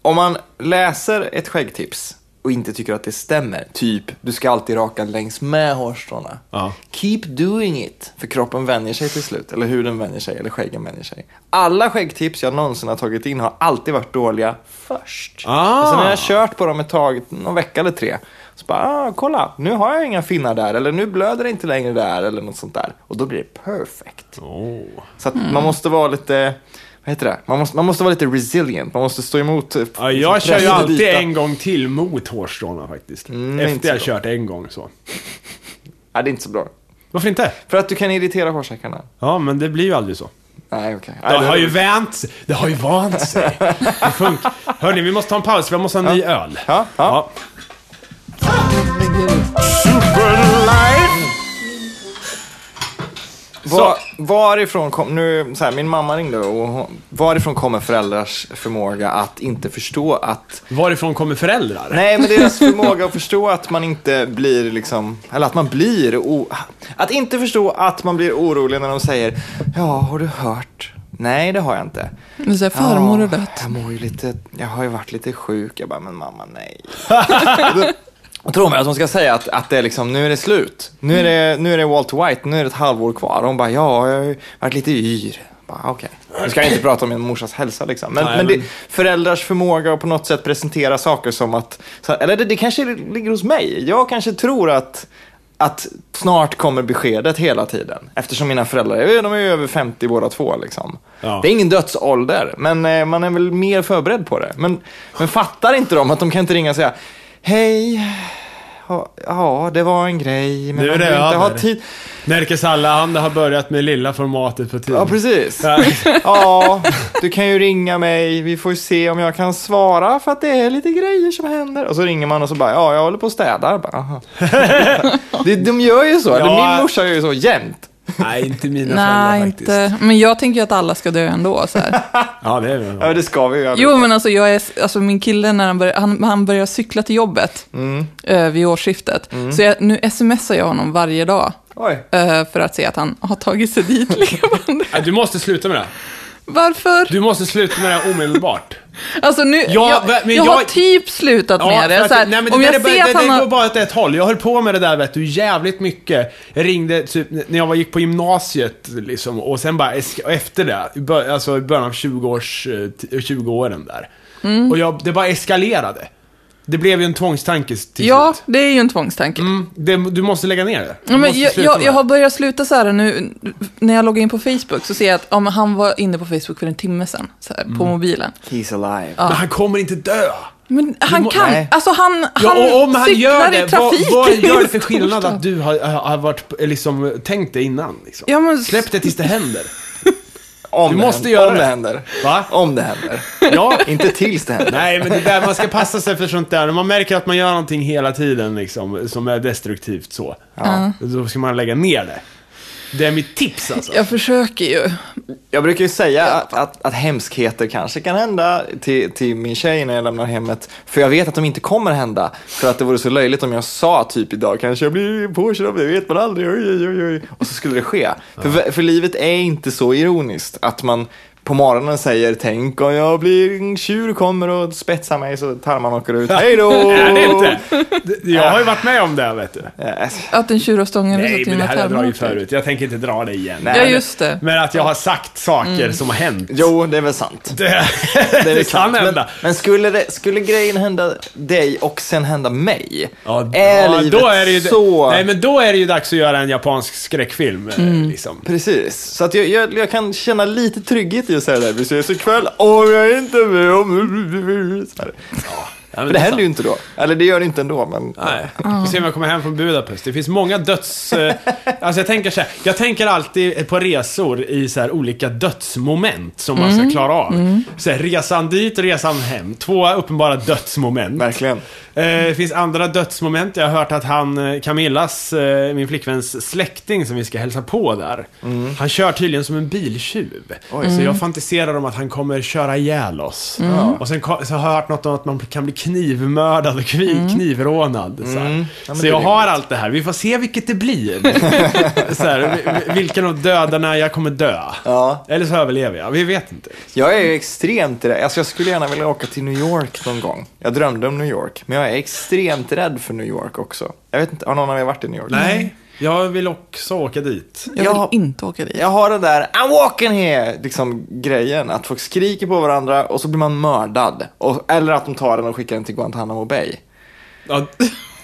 B: Om man läser ett skäggtips och inte tycker att det stämmer, typ du ska alltid raka längs med hårstråna.
A: Ja.
B: Keep doing it, för kroppen vänjer sig till slut, eller huden vänjer sig, eller skäggen vänjer sig. Alla skäggtips jag någonsin har tagit in har alltid varit dåliga först.
A: Ah.
B: Och sen när jag kört på dem ett tag, någon vecka eller tre, så bara, ah, kolla, nu har jag inga finnar där, eller nu blöder det inte längre där, eller något sånt där. Och då blir det perfect.
A: Oh.
B: Så att man måste vara lite, vad heter det? Man måste, man måste vara lite resilient, man måste stå emot. eh,
A: Ja, jag
B: pressen
A: kör ju
B: att
A: alltid
B: byta.
A: en gång till mot hårstråna faktiskt.
B: Mm, det är inte
A: Efter jag
B: så bra.
A: kört en gång så.
B: Nej, det är inte så bra.
A: Varför inte?
B: För att du kan irritera hårsäckarna.
A: Ja, men det blir ju aldrig så.
B: Nej, okej.
A: Det
B: Nej,
A: har ju vänt sig. Det har ju vant sig. Det funkar. Hörni, vi måste ta en paus för jag måste ha en ny öl.
B: Ja, ja. Var, varifrån kom, nu, så här, min mamma ringde och hon, varifrån kommer föräldrars förmåga att inte förstå att
A: Varifrån kommer föräldrar?
B: Nej, men deras förmåga att förstå att man inte blir liksom, eller att man blir, o- att inte förstå att man blir orolig när de säger ja, har du hört? Nej, det har jag inte.
C: Du säger farmor
B: "Ja,
C: har dött.
B: Jag mår ju lite, jag har ju varit lite sjuk. Jag bara, men mamma nej. Då tror man att hon ska säga att, att det är liksom, nu är det slut. Nu är det, nu är det Walter White, nu är det ett halvår kvar. Hon bara, ja, jag har ju varit lite yr. Bara, Okej, nu ska jag inte prata om min morsas hälsa liksom. Men,
A: Nej,
B: men det,
A: men-
B: föräldrars förmåga att på något sätt presentera saker som att, så- eller det, det kanske ligger hos mig. Jag kanske tror att, att snart kommer beskedet hela tiden. Eftersom mina föräldrar, eh, de är ju över 50 båda två liksom.
A: Ja.
B: Det är ingen dödsålder, men eh, man är väl mer förberedd på det. Men, men fattar inte de att de kan inte ringa och säga, hej, ja, ja det var en grej, men
A: Nu är
B: man
A: det
B: vill inte ha
A: över."
B: tid.
A: Nerkes Allahanda har börjat med lilla formatet på tiden.
B: Ja, precis.
A: Ja.
B: Ja, du kan ju ringa mig. Vi får ju se om jag kan svara för att det är lite grejer som händer. Och så ringer man och så bara, ja, jag håller på och städar. Bara, aha. det, de gör ju så. Eller
A: Ja.
B: min morsa gör ju så jämt.
A: Nej, inte mina föräldrar
C: Nej,
A: faktiskt.
C: inte. Men jag tänker ju att alla ska dö ändå. Så här.
A: Ja, det är väl
B: Ja, det ska vi ju göra.
C: Jo, men alltså, jag är, alltså min kille, när han, börjar, han, han börjar cykla till jobbet
A: Mm.
C: eh, vid årsskiftet. Så jag, nu smsar jag honom varje dag
B: Oj.
C: eh, för att se att han har tagit sig dit. liksom.
A: Ja, Du måste sluta med det.
C: Varför?
A: Du måste sluta med det här omedelbart.
C: Alltså nu,
A: Ja,
C: jag,
A: men
C: jag, har
A: jag-
C: typ slutat med
A: för
C: det.
A: att-
C: Så här,
A: alltså, nej, men
C: om
A: det,
C: jag
A: där är
C: ser
A: bara,
C: att
A: det,
C: han
A: det
C: har...
A: går bara åt ett håll. Jag höll på med det där vet du jävligt mycket. Jag ringde typ när jag var, gick på gymnasiet liksom och sen bara es- och efter det, i bör- alltså i början av 20 års, eh, t- 20 åren där.
C: Mm.
A: Och jag, det bara eskalerade. Det blev ju en tvångstanke till
C: Ja,
A: slut.
C: det är ju en tvångstanke.
A: Mm, det, du måste lägga ner det. Du
C: Ja, men
A: måste
C: jag,
A: sluta
C: jag,
A: med
C: jag
A: det.
C: har börjat sluta så här nu, när jag loggar in på Facebook så ser jag att ja, men han var inne på Facebook för en timme sedan, så här,
A: Mm.
C: på mobilen.
B: He's alive.
A: Men han kommer inte dö.
C: Men han
A: må-
C: kan,
B: nej.
C: alltså han,
A: Ja,
C: han
A: och om han
C: cyklar
A: gör det,
C: i
A: vad,
C: trafiken.
A: vad gör det för
C: i
A: skillnad
C: storstad?
A: att du har, har, har varit, liksom, tänkt det innan? Liksom?
C: Ja, men-
A: Släpp det tills det händer.
B: Om
A: Du
B: det
A: måste
B: händer.
A: göra
B: om
A: det.
B: det händer.
A: Va?
B: Om det händer.
A: Ja.
B: Inte tills det händer.
A: Nej, men det där, man ska passa sig för sånt där. När man märker att man gör någonting hela tiden liksom, som är destruktivt så,
B: Ja.
A: då ska man lägga ner det. Det är mitt tips alltså.
C: Jag försöker ju.
B: Jag brukar ju säga att, att, att hemskheter kanske kan hända till, till min tjej när jag lämnar hemmet. För jag vet att de inte kommer hända. För att det vore så löjligt om jag sa typ idag kanske jag blir påkörd av det, vet man aldrig. Oj, oj, oj, oj. Och så skulle det ske. För, för livet är inte så ironiskt att man på morgonen säger tänk om jag blir en tjur kommer och spetsar mig så tarmarna åker ut. Hej då!
A: Nej, det är inte. Det- Jag har ju varit med om det, här, vet du.
B: Eh,
C: Att en tjur har stångat
A: Nej,
C: till
A: men det
C: mina
A: här har jag
C: tarmar.
A: dragit förut. Jag tänker inte dra det igen.
B: Nej.
C: Ja, just det.
A: Men att jag har sagt saker som har hänt.
B: Jo, det är väl sant.
A: Det,
B: är
A: det,
B: väl sant.
A: kan hända.
B: Men, men skulle, det, skulle grejen hända dig och sen hända mig?
A: Ja,
B: är
A: ja,
B: livet
A: då är det ju,
B: så...
A: Nej, men då är det ju dags att göra en japansk skräckfilm. eh, Liksom.
B: Precis, så att jag, jag, jag kan känna lite trygghet i att säga det här. Vi ses ikväll om jag inte är med om... Så här.
A: Ja, men
B: För det händer ju inte då. Eller det gör det inte ändå, men...
A: Nej. Vi ser om jag kommer hem från Budapest. Det finns många döds... eh, Alltså jag tänker så här, Jag tänker alltid på resor i så här olika dödsmoment som man ska klara av. Så här, resan dit, resan hem. Två uppenbara dödsmoment.
B: Verkligen.
A: Eh, Det finns andra dödsmoment. Jag har hört att han, eh, Camillas, eh, min flickväns släkting som vi ska hälsa på där. Han kör tydligen som en biltjuv. Så jag fantiserar om att han kommer köra ihjäl oss. Och sen ko- så har jag hört något om att man kan bli knivmördad och kniv, knivrånad. Så, här.
B: men
A: så
B: det är
A: jag
B: rimligt.
A: har allt det här. Vi får se vilket det blir. så här, vi- vi- vilken av dödarna jag kommer dö.
B: Ja.
A: Eller så överlever jag. Vi vet inte.
B: Jag är ju extremt rädd. Alltså jag skulle gärna vilja åka till New York någon gång. Jag drömde om New York. Men jag är extremt rädd för New York också. Jag vet inte, har någon av er varit i New York?
A: Nej, jag vill också åka dit.
C: Jag vill
B: Jag-
C: inte åka dit.
B: Jag har den där I'm walking here, liksom grejen. Att folk skriker på varandra och så blir man mördad. Och, eller att de tar den och skickar den till Guantanamo Bay.
A: Ja,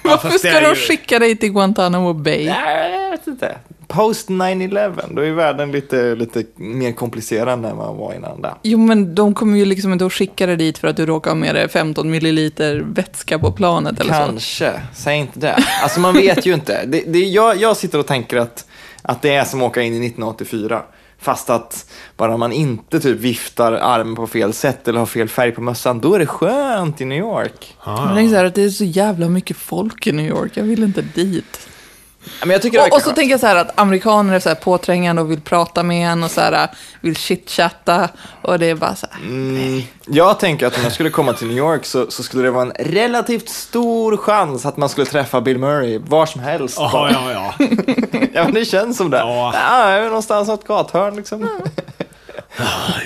C: Varför
A: fast det
C: ska
A: är
C: de
A: ju-
C: skicka dig till Guantanamo Bay?
B: Nej, jag vet inte. Post 9-11, då är världen lite, lite mer komplicerad än man var innan det.
C: Jo, men de kommer ju liksom inte att skicka dig dit för att du råkar ha med dig 15 milliliter vätska på planet eller så.
B: Kanske, säg inte det. Alltså man vet ju inte. Det, det, jag, jag sitter och tänker att, att det är som att åka in i 1984. Fast att bara man inte typ viftar armen på fel sätt eller har fel färg på mössan, då är det skönt i New York.
C: Jag tänker så här att det är så jävla mycket folk i New York, jag vill inte dit.
B: Men jag tycker det
C: Och, och så
B: verkar
C: tänker jag så här att amerikaner är så här påträngande och vill prata med en och så här, äh, vill chitchatta. Och det är bara så
A: Mm.
C: här.
B: Mm, Jag tänker att om jag skulle komma till New York så, så skulle det vara en relativt stor chans att man skulle träffa Bill Murray var som helst.
A: Ja, ja, ja.
B: Ja, men det känns som det.
A: Ja.
B: Ja, jag är någonstans åt gathörn liksom.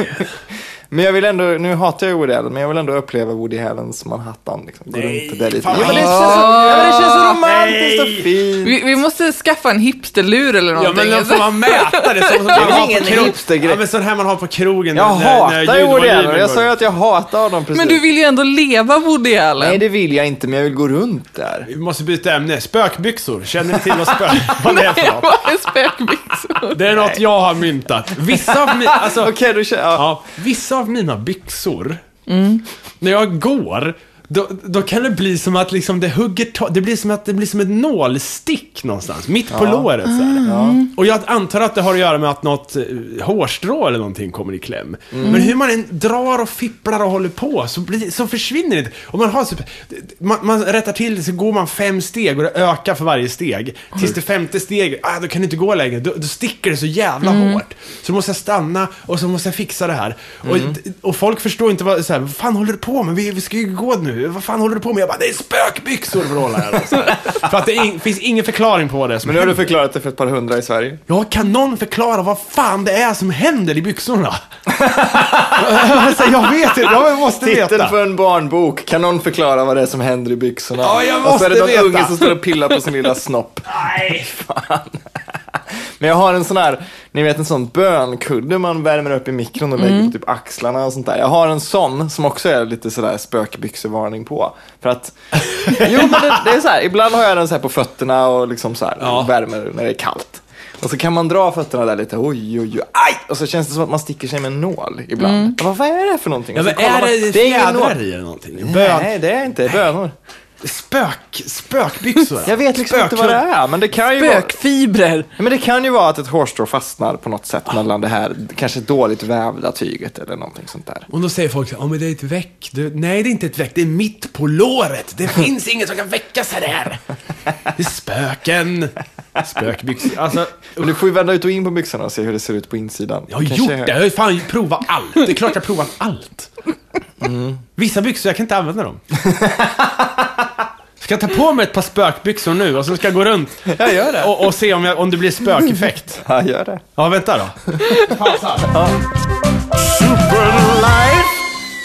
B: Men jag vill ändå, nu hatar jag Woody Allen, men jag vill ändå uppleva Woody Allens Manhattan. Liksom. Gå
A: Nej,
B: runt där lite.
A: fan.
B: Ja, men det känns så, ja, men det känns så romantiskt
A: Nej.
B: och fint.
C: Vi, vi måste skaffa en hipsterlur eller
A: Ja, men
C: någonting.
A: då får man mäta det. Som, som det
B: är ingen hipstergrej.
A: Ja, men sån här man har på krogen.
B: Jag hatar ju
A: Gud var
B: Woody
A: livet
B: Allen, jag
A: går.
B: sa ju att jag hatar honom precis.
C: men du vill ju ändå leva Woody Allen.
B: Nej, det vill jag inte, men jag vill gå runt där.
A: Vi måste byta ämne. Spökbyxor. Känner ni till vad, spök, vad det är för något?
C: Vad är spökbyxor?
A: Det är något jag har myntat. Vissa av mina, alltså,
B: Okej, du känner... Ja.
A: ja, vissa av mina byxor, när jag går, då, då kan det bli som att liksom det hugger ta- det blir som att det blir som ett nålstick någonstans, mitt på låret så här. Och jag antar att det har att göra med att något eh, hårstrå eller någonting kommer i kläm. Men hur man än drar och fipplar och håller på så, blir, så försvinner det inte. Och man, har, så- man, man rättar till det, så går man fem steg och det ökar för varje steg. Tills det femte steget, ah, då kan du inte gå längre. Då, då sticker det så jävla
B: Mm.
A: hårt. Så då måste jag stanna och så måste jag fixa det här.
B: Mm.
A: Och, och folk förstår inte vad, så här, vad fan håller du på med? Vi, vi ska ju gå nu. Vad fan håller du på med? Jag bara, det är spökbyxor för att hålla här. Alltså. för att det är, finns ingen förklaring på vad det är som
B: Men nu har du förklarat det för ett par hundra i Sverige.
A: Ja, kan någon förklara vad fan det är som händer i byxorna? alltså, jag vet inte, jag måste
B: Titeln
A: veta.
B: på en barnbok, kan någon förklara vad det är som händer i byxorna?
A: Ja, jag
B: och så är det
A: måste
B: någon
A: veta.
B: unge som står och pillar på sin lilla snopp.
A: Nej.
B: Men jag har en sån här, ni vet en sån bönkudde man värmer upp i mikron och
A: Mm.
B: lägger på typ axlarna och sånt där. Jag har en sån som också är lite sådär spökbyxevarning på. För att, jo men det, det är så här, ibland har jag den så här på fötterna och liksom så här,
A: Ja.
B: värmer när det är kallt. Och så kan man dra fötterna där lite, oj oj oj, aj! Och så känns det som att man sticker sig med en nål ibland.
A: Mm.
B: Jag bara, vad är det för någonting?
A: Ja,
B: Och så
A: men
B: kollar
A: är
B: man,
A: det,
B: ingen nål."
A: fjädrar i eller någonting? Bön,
B: Nej, det är inte. Det är bönor.
A: spök, spökbyxor?
B: Jag vet liksom inte vad det är, men det kan ju vara...
C: Spökfibrer.
B: Ja, Men det kan ju vara att ett hårstrå fastnar på något sätt mellan det här kanske dåligt vävda tyget eller någonting sånt där.
A: Och då säger folk så här, ja men det är ett väck. Du, nej, det är inte ett väck, det är mitt på låret. Det finns inget som kan väcka sig där. Det är spöken. Spökbyxor. Alltså,
B: Men du får ju vända ut och in på byxorna och se hur det ser ut på insidan.
A: Jag har gjort det. Jag har ju fan provat allt. Det är klart jag har provat allt. Vissa byxor, jag kan inte använda dem. Ska jag ta på mig ett par spökbyxor nu och sen ska jag gå runt
B: Jag gör det.
A: och, och se om, jag, om det blir spökeffekt?
B: Ja, gör det.
A: Ja, vänta då.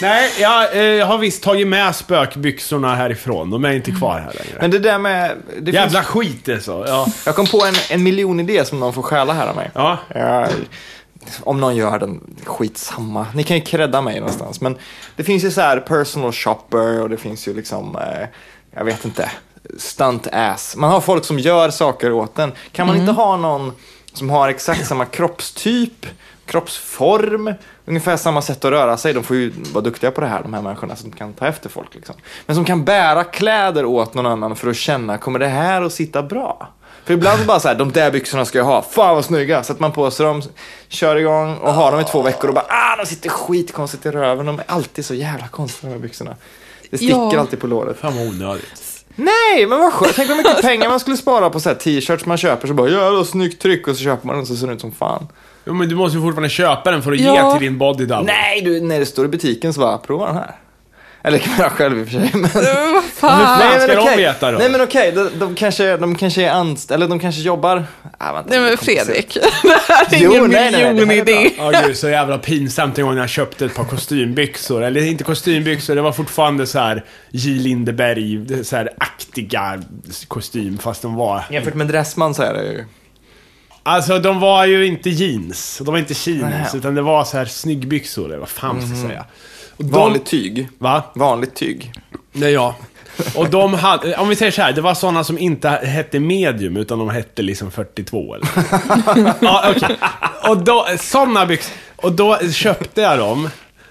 A: Nej, jag eh, har visst tagit med spökbyxorna härifrån. De är inte kvar här längre.
B: Mm. Men det där med... Det finns,
A: Jävla skit det är så. Ja.
B: jag kom på en, en miljon idé som någon får stjäla här av mig.
A: Ja.
B: Ja, om någon gör den, skitsamma. Ni kan ju credda mig någonstans. Men det finns ju så här personal shopper och det finns ju liksom, eh, jag vet inte, stunt ass. Man har folk som gör saker åt en. Kan man inte ha någon som har exakt samma kroppstyp, kroppsform, ungefär samma sätt att röra sig. De får ju vara duktiga på det här, de här människorna som kan ta efter folk. Liksom. Men som kan bära kläder åt någon annan för att känna, kommer det här att sitta bra? För ibland bara så här, de där byxorna ska jag ha, fan vad snygga. Sätter man på sig dem, kör igång och har dem i två veckor och bara ah, de sitter skitkonstigt i röven. De är alltid så jävla konstiga de här byxorna. Det sticker
C: Ja.
B: alltid på låret.
A: Fan vad onödigt.
B: Nej, men vad skönt. Tänk hur mycket pengar man skulle spara på så här t-shirts man köper. Så bara, jävla snyggt tryck och så köper man den så ser den ut som fan.
A: Jo, men du måste ju fortfarande köpa den för att
C: Ja.
A: ge till din body double.
B: Nej, du, när det står i butiken så bara, prova den här. Eller kan man själv i och för sig. Men...
C: Eh, Vad fan?
A: fan ska de
B: okej.
A: veta då?
B: Nej men okej, de, de, kanske, de kanske är anst... Eller de kanske jobbar... Ah, vänta,
C: Nej
B: det är
C: men
B: komplicerat.
C: Fredrik, det här är
B: Jo,
C: ingen
B: nej, nej, nej, det här är
C: miljonidé.
A: Ja, gud, så jävla pinsamt en gång när jag köpte ett par kostymbyxor. Eller inte kostymbyxor, det var fortfarande så här J. Lindeberg, så här aktiga kostym, fast de var...
B: Jämfört med Dressman så är det ju...
A: Alltså, de var ju inte jeans. De var inte chinos,
B: Nej. Mhm.
A: utan det var så här snyggbyxor, eller vad fan man ska säga. Och de-
B: Vanligt tyg.
A: Va?
B: Vanligt tyg.
A: Nej, ja. Och de hade, om vi säger så här, det var sådana som inte hette medium, utan de hette liksom 42 eller Ja, okej. Och då, sådana byxor. Och då köpte jag dem.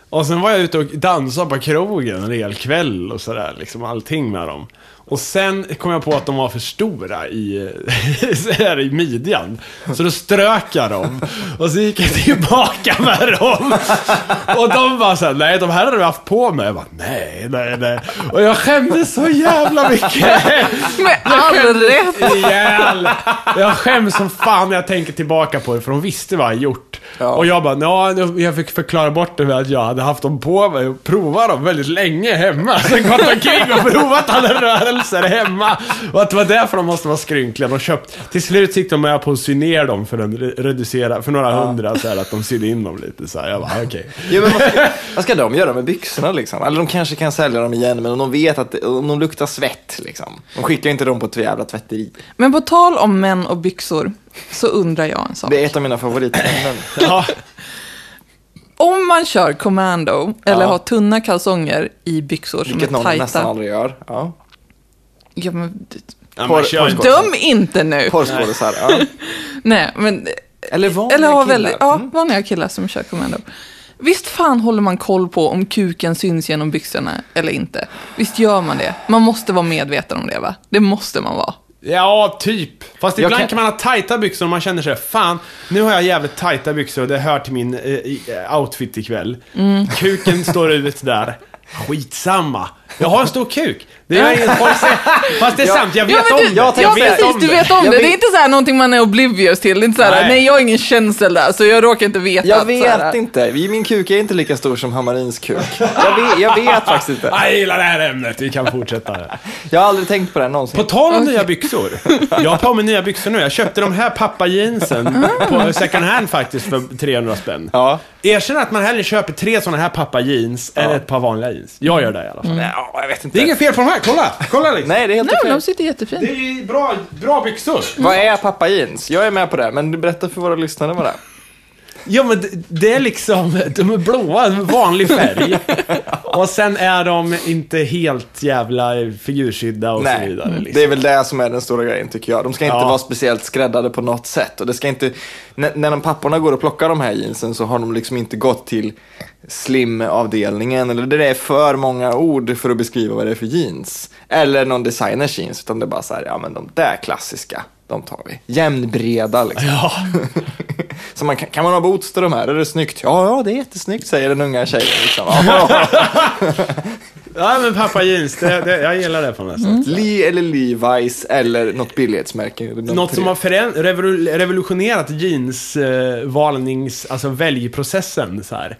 A: Och sen var jag ute och dansade på krogen en hel kväll och sådär, liksom allting med dem. Och sen kom jag på att de var för stora i, så här, i midjan. Så då strök jag dem. Och så gick jag tillbaka med dem. Och de bara såhär, nej de här hade du haft på mig. Jag bara, nej, nej, nej. Och jag skämdes så jävla mycket.
C: Med all rätt!
A: Ihjäl. Jag skäms som fan när jag tänker tillbaka på det, för de visste vad jag gjort.
B: Ja.
A: Och jag bara, "Nja, jag fick förklara bort det med att jag hade haft dem på mig och provat dem väldigt länge hemma. Sen gått omkring och provat alla rörelser hemma. Och att det var därför de måste vara skrynkliga. De köpt, till slut gick de med på att sy ner dem för, en, re- reducera, för några hundra, så här, att de sydde in dem lite. Så här. Jag bara, okej.
B: Ja, men vad, ska, vad ska de göra med byxorna liksom? Eller de kanske kan sälja dem igen, men om de vet att det- om de luktar svett liksom. De skickar inte dem på ett jävla tvätteri.
C: Men på tal om män och byxor så undrar jag en sak.
B: Det är ett av mina favoritämnen.
A: Ja,
C: Om man kör commando eller
B: Ja.
C: har tunna kalsonger i byxor som
B: Vilket
C: är
B: någon
C: tajta.
B: nästan aldrig gör. Ja.
C: Ja, men, d-
A: ja
B: Porr-
A: men kör inte.
C: döm inte nu!
B: Porrskådisar. Ja.
C: Nej, men...
B: Eller vanliga
C: Eller har
B: killar. Mm.
C: väldigt, ja, vanliga killar som kör commando. Visst fan håller man koll på om kuken syns genom byxorna eller inte? Visst gör man det? Man måste vara medveten om det, va? Det måste man vara.
A: Ja, typ. Fast
B: Jag
A: ibland
B: kan-
A: kan... man ha tajta byxor och man känner sig fan, nu har jag jävligt tajta byxor och det hör till min eh, i- eh, outfit ikväll.
C: Mm.
A: Kuken står ut där. Skitsamma. Jag har en stor kuk. Det är ingen folk ser. Fast det är sant, jag vet
C: ja, men
A: om
C: du,
A: det.
B: jag
C: ja,
B: vet
C: precis,
A: om
C: du
A: det.
C: vet om det.
B: Jag
C: Det
B: vet-
C: är inte så här någonting man är oblivious till. Det är inte så här, nej,
A: Nej.
C: jag har ingen känsel där, så jag råkar inte veta.
B: Jag
C: att så här,
B: vet inte. Min kuk är inte lika stor som Hammarins kuk. Jag vet, jag vet faktiskt inte.
A: Jag gillar det här ämnet, vi kan fortsätta.
B: Jag har aldrig tänkt på det här
A: På
B: någonsin.
A: tal om nya byxor. Jag har på mig nya byxor nu. Jag köpte de här pappa-jeansen
C: Mm.
A: på second hand faktiskt för 300 spänn.
B: Ja.
A: Erkänn att man hellre köper tre sådana här pappa-jeans än ett par vanliga jeans. Jag gör det i alla fall.
B: Ja, jag vet inte.
A: Det är inget fel på de här, kolla! Kolla liksom.
B: Mm. Nej, det är helt
C: Nej, men
B: okej.
C: de sitter jättefint.
A: Det är bra, bra byxor.
B: Vad är pappa jeans? Jag är med på det, men berätta för våra lyssnare vad det är.
A: Ja men det- det är liksom, de är blåa, de är vanlig färg. Och sen är de inte helt jävla figursydda och så
B: Nej, Mm.
A: vidare. Liksom.
B: det är väl det som är den stora grejen tycker jag. De ska inte
A: Ja.
B: vara speciellt skräddade på något sätt. Och det ska inte, när, när de papporna går och plockar de här jeansen så har de liksom inte gått till slimavdelningen. Eller det är för många ord för att beskriva vad det är för jeans. Eller någon designers jeans. Utan det är bara så här, ja men de där klassiska, de tar vi. Jämnbreda liksom.
A: Ja.
B: Så man, kan kan man ha boots till de här? Är det snyggt? Ja, ja, det är jättesnyggt säger den unga tjejen. Liksom. Ja,
A: ja men pappa jeans, det, det, jag gillar det på något sätt.
B: Lee eller Levi's eller något billighetsmärke. De
A: Något som
B: tre.
A: har föränd- revolu- revolutionerat jeans eh, valnings, alltså väljprocessen så här.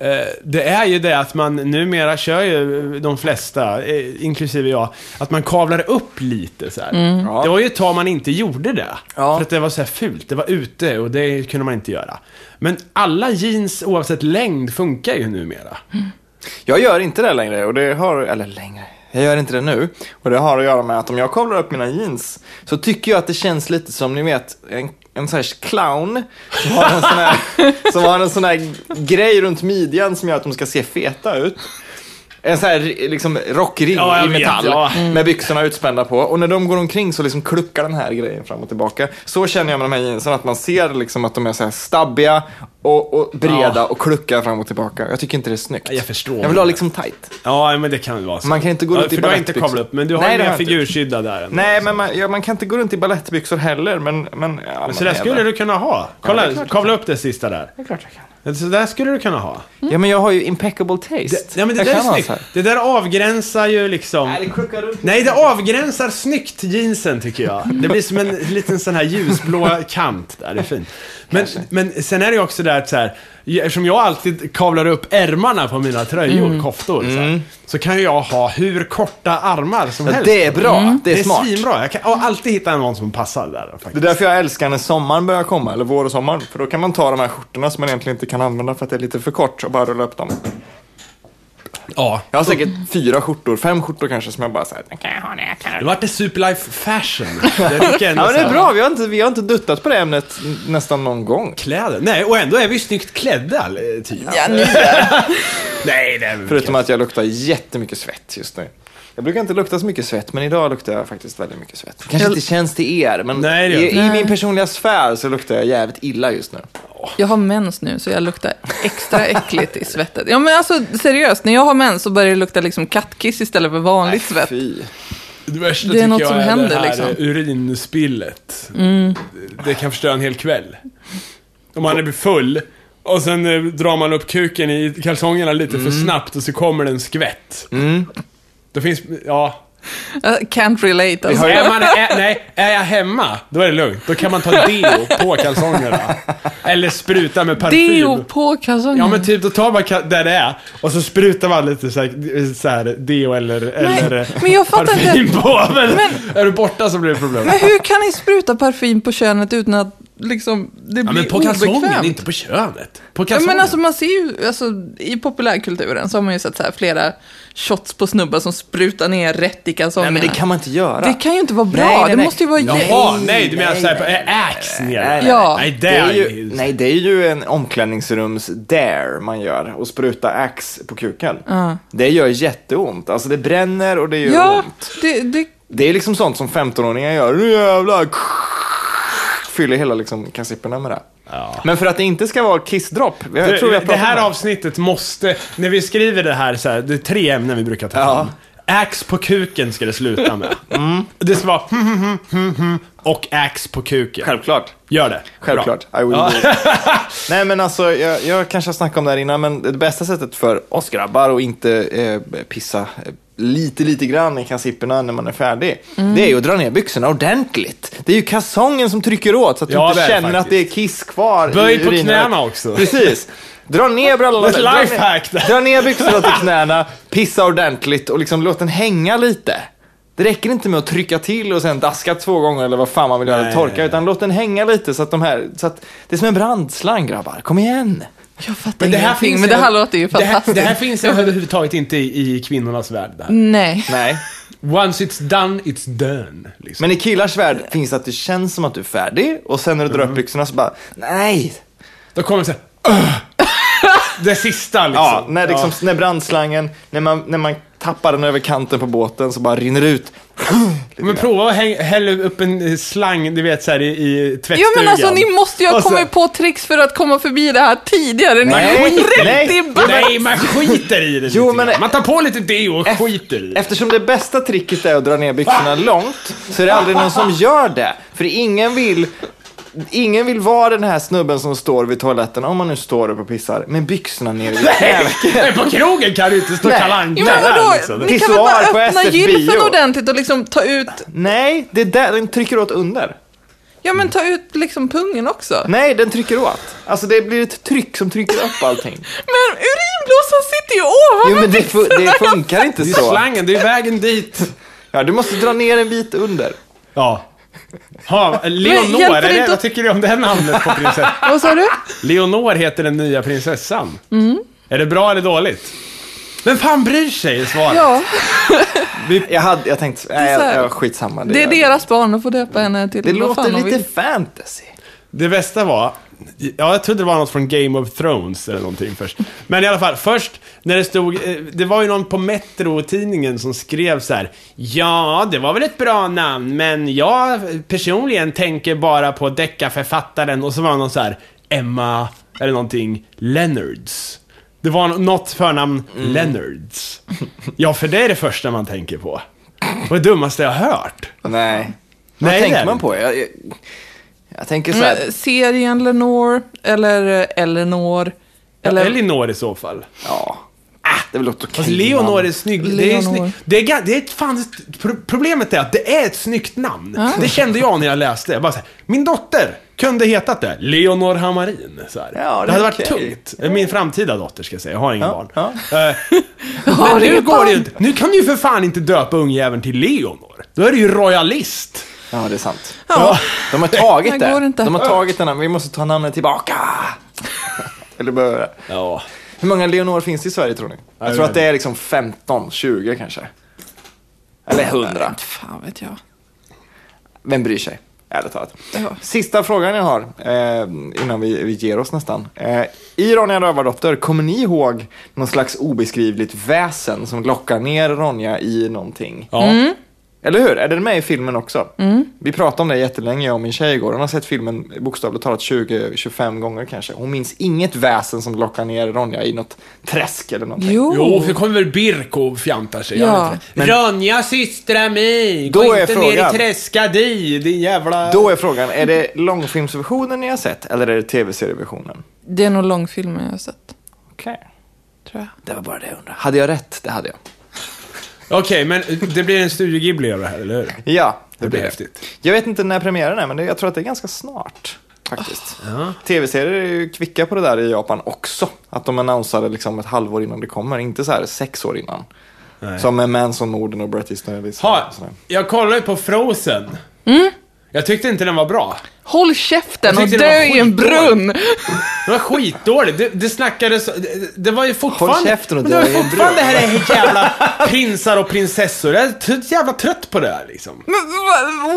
A: Eh, det är ju det att man numera kör ju eh, de flesta, eh, inklusive jag, att man kavlar upp lite så här.
B: Ja.
A: Det var ju ett tag man inte gjorde det.
B: Ja.
A: För att det var så här fult, det var ute och det kunde man inte göra. Men alla jeans oavsett längd funkar ju numera.
B: Mm. Jag gör inte det längre och det har, eller längre, jag gör inte det nu. Och det har att göra med att om jag kavlar upp mina jeans så tycker jag att det känns lite som ni vet en, en sån här clown som har en sån här, som har en sån här grej runt midjan som gör att de ska se feta ut. En sån här liksom rockring
A: Ja, jag
B: i
A: vet,
B: metall
A: ja. Mm.
B: med byxorna utspända på. Och när de går omkring så liksom kluckar den här grejen fram och tillbaka. Så känner jag med de här jeansen, att man ser liksom att de är så här stabbiga och, och breda
A: Ja.
B: och kluckar fram och tillbaka. Jag tycker inte det är snyggt.
A: Jag förstår.
B: Jag vill ha liksom tight.
A: Ja, men det kan väl vara så.
B: Man kan inte gå
A: ja,
B: runt i
A: För du har inte
B: balettbyxor.
A: kavlat upp, men du har
B: Nej,
A: ju
B: det har
A: mer
B: jag inte.
A: figurskydda där ändå.
B: Nej, men man, ja, man kan inte gå runt i balettbyxor heller, men... men ja, man
A: Så där
B: är
A: skulle
B: där.
A: du kunna ha. Kolla,
B: det är klart.
A: kavla upp det sista där.
B: Det är klart jag kan.
A: Så där skulle du kunna ha.
B: Ja, men jag har ju impeccable taste.
A: Det, ja, men det
B: jag
A: där är
B: kan ha
A: snyggt.
B: så här.
A: Det där avgränsar ju liksom...
B: Nej, det kluckar runt.
A: Nej, det avgränsar snyggt jeansen tycker jag. Det blir som en liten sån här ljusblå kant där, det är fint. Men, men sen är det ju också där att så här, eftersom jag alltid kavlar upp ärmarna på mina tröjor,
B: Mm.
A: koftor, så, här, så kan ju jag ha hur korta armar som
B: Ja,
A: helst.
B: det är bra. Det är
A: det är
B: smart.
A: svinbra. Jag kan och alltid hitta någon som passar där faktiskt.
B: Det är därför jag älskar när sommaren börjar komma, eller vår och sommaren. För då kan man ta de här skjortorna som man egentligen inte kan använda för att det är lite för kort och bara rulla upp dem.
A: Ja.
B: Jag har säkert fyra skjortor, fem skjortor kanske som jag bara säger. Ja,
A: Nu vart det superlife fashion. Det tycker jag ändå
B: men det
A: så här-
B: är bra. Vi har, inte, vi har inte duttat på det ämnet n- nästan någon gång.
A: kläder. Nej, och ändå är vi snyggt klädda, eh, typ.
C: Ja, ni,
A: Nej, det är vi
B: Förutom att jag luktar jättemycket svett just nu. Jag brukar inte lukta så mycket svett, men idag luktar jag faktiskt väldigt mycket svett. Det kanske inte känns till er, men
A: Nej, det gör
B: i, i min personliga sfär så luktar jag jävligt illa just nu.
A: inte.
C: Jag har mens nu så jag luktar extra äckligt i svettet. Ja men alltså seriöst, när jag har mens så börjar det lukta liksom kattkiss istället för vanligt svett.
B: Fy.
A: Det värsta
C: Det är
A: tycker
C: något
A: jag
C: som
A: är
C: händer,
A: det här
C: liksom. Mm.
A: eh, urinspillet. Det kan förstöra en hel kväll. Om man är full och sen eh, drar man upp kuken i kalsongerna lite för snabbt och så kommer det en skvätt. Då finns, ja.
C: Jag can't relate alltså.
A: Är, man, är, nej, är jag hemma, då är det lugnt. Då kan man ta deo på kalsongerna. Eller spruta med parfym.
C: Deo på kalsongerna.
A: Ja men typ, då tar man ka- där det är och så sprutar man lite så här, så här deo eller, eller
C: men jag fattar inte.
A: parfym på. Men, är du borta så blir det problem.
C: Men hur kan ni spruta parfym på könet utan att liksom, det
A: Ja,
C: blir
A: men på kalsongen,
C: obekvämt?
A: inte på könet. På
C: Ja,
A: kalsongen.
C: men alltså man ser ju, alltså, i populärkulturen så har man ju sett så här flera shots på snubbar som sprutar ner rätt i
B: Nej,
C: kalsongerna.
B: men det kan man inte göra.
C: Det kan ju inte vara bra,
B: Nej, nej,
C: det
B: nej.
C: måste ju vara...
A: Jaha, nej, du menar
B: Nej,
A: såhär på
B: nej,
A: äh, ax ner?
B: nej,
C: nej. Ja.
A: Nej, det
B: Det är
A: är
B: ju,
A: ju...
B: nej, det är ju en omklädningsrums-dare man gör och spruta ax på kuken. Det gör jätteont. Alltså det bränner och det gör
C: Ja,
B: ont.
C: det, det,
B: Det är liksom sånt som 15-åringar gör. Nu jävlar! Fyller hela liksom kassipperna med det.
A: Ja.
B: Men för att det inte ska vara kissdropp. Jag tror
A: Du,
B: jag
A: det här
B: av...
A: avsnittet måste, när vi skriver det här så här, det är tre ämnen vi brukar ta
B: Ja.
A: fram. Ax på kuken ska det sluta med. Det ska vara hm, hm, hm, hm, hm, och ax på kuken.
B: Självklart.
A: Gör det.
B: Självklart. I will do it. Nej men alltså, jag, jag kanske har snackat om det här innan, men det bästa sättet för oss grabbar att inte eh, pissa eh, lite, lite grann i kassipperna när man är färdig, det är ju att dra ner byxorna ordentligt. Det är ju kassongen som trycker åt så att du
A: Ja, det
B: inte
A: är det
B: känner att
A: faktiskt.
B: det är kiss kvar
A: Böj
B: i
A: på
B: urinröret.
A: knäna också.
B: Precis. Dra ner brallorna.
A: Det är ett
B: Dra ner-
A: lifehack där.
B: Dra ner byxorna till knäna, pissa ordentligt och liksom låt den hänga lite. Det räcker inte med att trycka till och sen daska två gånger eller vad fan man vill göra,
A: Nej.
B: torka, utan låt den hänga lite så att de här, så att det är som en brandslang grabbar, kom igen.
C: jag fattar men det här finns men det här låter ju
A: det här,
C: fantastiskt.
A: det här finns överhuvudtaget inte i, i kvinnornas värld. Det här.
C: Nej.
B: Nej,
A: Once it's done, it's done. Liksom.
B: men i killars värld finns det att det känns som att du är färdig och sen när du drar upp byxorna så bara, nej.
A: Då kommer det så här, "Ugh!" Det sista liksom.
B: Ja, när, liksom, när brandslangen, när man, när man tappar den över kanten på båten så bara rinner det ut.
A: Ja. Men prova att häng, hälla upp en eh, slang, du vet såhär i, i
C: Ja
A: tvättstugan.
C: men alltså ni måste ju ha
A: Och så-
C: kommit på tricks för att komma förbi det här tidigare. Ni
B: Nej,
C: är ju
B: nej.
C: rätt i back.
A: Nej, man skiter i det lite
B: Jo,
A: grann.
B: men-
A: Man tar på lite deo och skiter i det.
B: Eftersom det bästa tricket är att dra ner byxorna långt så är det aldrig någon som gör det. För ingen vill, ingen vill vara den här snubben som står vid toaletten, om man nu står upp och pissar, med byxorna ner vid knävecken.
A: Men på krogen kan du inte stå
B: Nej.
A: kalanka
C: Jo, men vadå?
A: liksom.
C: Ni kan väl bara
B: Pissoar på
C: öppna
B: SFBO?
C: gylfen ordentligt och liksom ta ut,
B: Nej, det är där, den trycker åt under.
C: ja men ta ut liksom pungen också.
B: Nej, den trycker åt. Alltså det blir ett tryck som trycker upp allting.
C: Men urinblåsan sitter ju ovanför
B: Jo men det, fu-
C: byxorna.
B: det funkar inte
A: Det är
B: så.
A: slangen, det är vägen dit.
B: Ja, du måste dra ner en bit under.
A: Ja. Ha, Leonor,
C: hjälper
A: är
C: det
A: det,
C: inte
A: vad
C: att-
A: tycker du om det namnet på prinsessan?
C: Vad sa du?
A: Leonor heter den nya prinsessan. Är det bra eller dåligt? Vem fan bryr sig? är Svaret.
C: Ja,
B: Jag, hade, jag tänkte, nej,
C: så här.
B: jag, jag, skitsamma.
C: det är
B: gör-
C: deras barn att få döpa henne till
B: det
C: vad
B: låter
C: fan de
B: lite
C: vill.
B: fantasy.
A: Det bästa var, ja jag trodde det var något från Game of Thrones eller någonting först. Men i alla fall, först när det stod, eh, det var ju någon på Metro-tidningen som skrev så här. Ja, det var väl ett bra namn, men jag personligen tänker bara på deckarförfattaren och så var det någon så här Emma, eller någonting, Leonards. Det var något förnamn,
B: Mm.
A: Leonards. Ja, för det är det första man tänker på. Det var det dummaste jag har hört.
B: Nej. Vad
A: Nej,
B: tänker
A: det är
B: man
A: det.
B: på? Jag, jag, jag tänker så här,
C: Men, Eh, serien Lenore, eller eh, Eleanor, eller...
A: Elinor i så fall.
B: ja. Ah, det är väl något okej.
A: Fast Leonor är
B: namn.
A: snygg. Det är,
C: Leonor.
A: sny- det är, ga- det är ett fan, pro- problemet är att det är ett snyggt namn. Det kände jag när jag läste. Jag bara så här, min dotter kunde hetat det. Leonor Hammarin. Så här.
B: Ja, det
A: det,
B: är
A: hade
B: okej.
A: varit tungt. Min framtida dotter ska jag säga. Jag har inga barn.
B: ja.
A: Eh,
C: Har
A: men nu
C: inget
A: går det ju
C: barn.
A: inte. Nu kan du ju för fan inte döpa ungjäveln till Leonor. Då är du ju royalist.
B: Ja, det är sant.
C: Ja.
B: De har tagit
C: Det
B: det.
C: går inte.
B: De har tagit den här, vi måste ta namnet tillbaka. Eller börja.
A: Ja.
B: Hur många Leonor finns det i Sverige tror ni? Jag
A: jag
B: tror
A: vet
B: att det är liksom 15, 20 kanske. Eller
A: Äh,
B: 100.
C: Inte fan vet jag.
B: Vem bryr sig? Ärligt talat.
C: Ja.
B: Sista frågan jag har, eh, innan vi, vi ger oss nästan. Eh, I Ronja Rövardotter, kommer ni ihåg någon slags obeskrivligt väsen som lockar ner Ronja i någonting?
A: Ja.
B: Eller hur? Är den med i filmen också? Vi pratade om det jättelänge, jag och min tjej igår. Hon har sett filmen bokstavligt talat 20-25 gånger kanske. Hon minns inget väsen som lockar ner Ronja i något träsk eller någonting.
C: Jo.
A: Jo, för kommer Birk och fjantar sig.
C: Ja.
A: Ja. Ronja systra mi,
B: Då
A: gå
B: är
A: inte ner
B: frågan-
A: i träska di, din jävla...
B: Då är frågan, är det långfilmsversionen ni har sett eller är det tv-serieversionen?
C: Det är nog långfilmen jag har sett,
B: Okej.
C: tror jag.
B: Det var bara det jag undrade. Hade jag rätt? Det hade jag.
A: Okej, men det blir en Studio Ghibli av det här, eller hur?
B: Ja, det,
A: Det
B: blir
A: blir
B: det.
A: häftigt.
B: Jag vet inte när premiären är, men det, jag tror att det är ganska snart. Faktiskt.
A: Ah,
B: Tv-serier är ju kvicka på det där i Japan också. Att de annonsade liksom ett halvår innan det kommer, inte så här sex år innan. Som med Manson-morden och Bret Easton Ellis.
A: Ha, jag kollade ju på Frozen. Jag tyckte inte den var bra.
C: Håll käften
A: Jag
C: och
A: tyckte det
C: dö
A: var
C: i en
A: skitdåligt.
C: brunn!
A: Den var skitdålig. Det, det snackades... Det, det var ju fortfarande...
B: Håll käften och
A: Men det
B: dö
A: var ju
B: i en
A: fortfarande det här jävla prinsar och prinsessor. Jag är t- jävla trött på det här liksom.
C: Men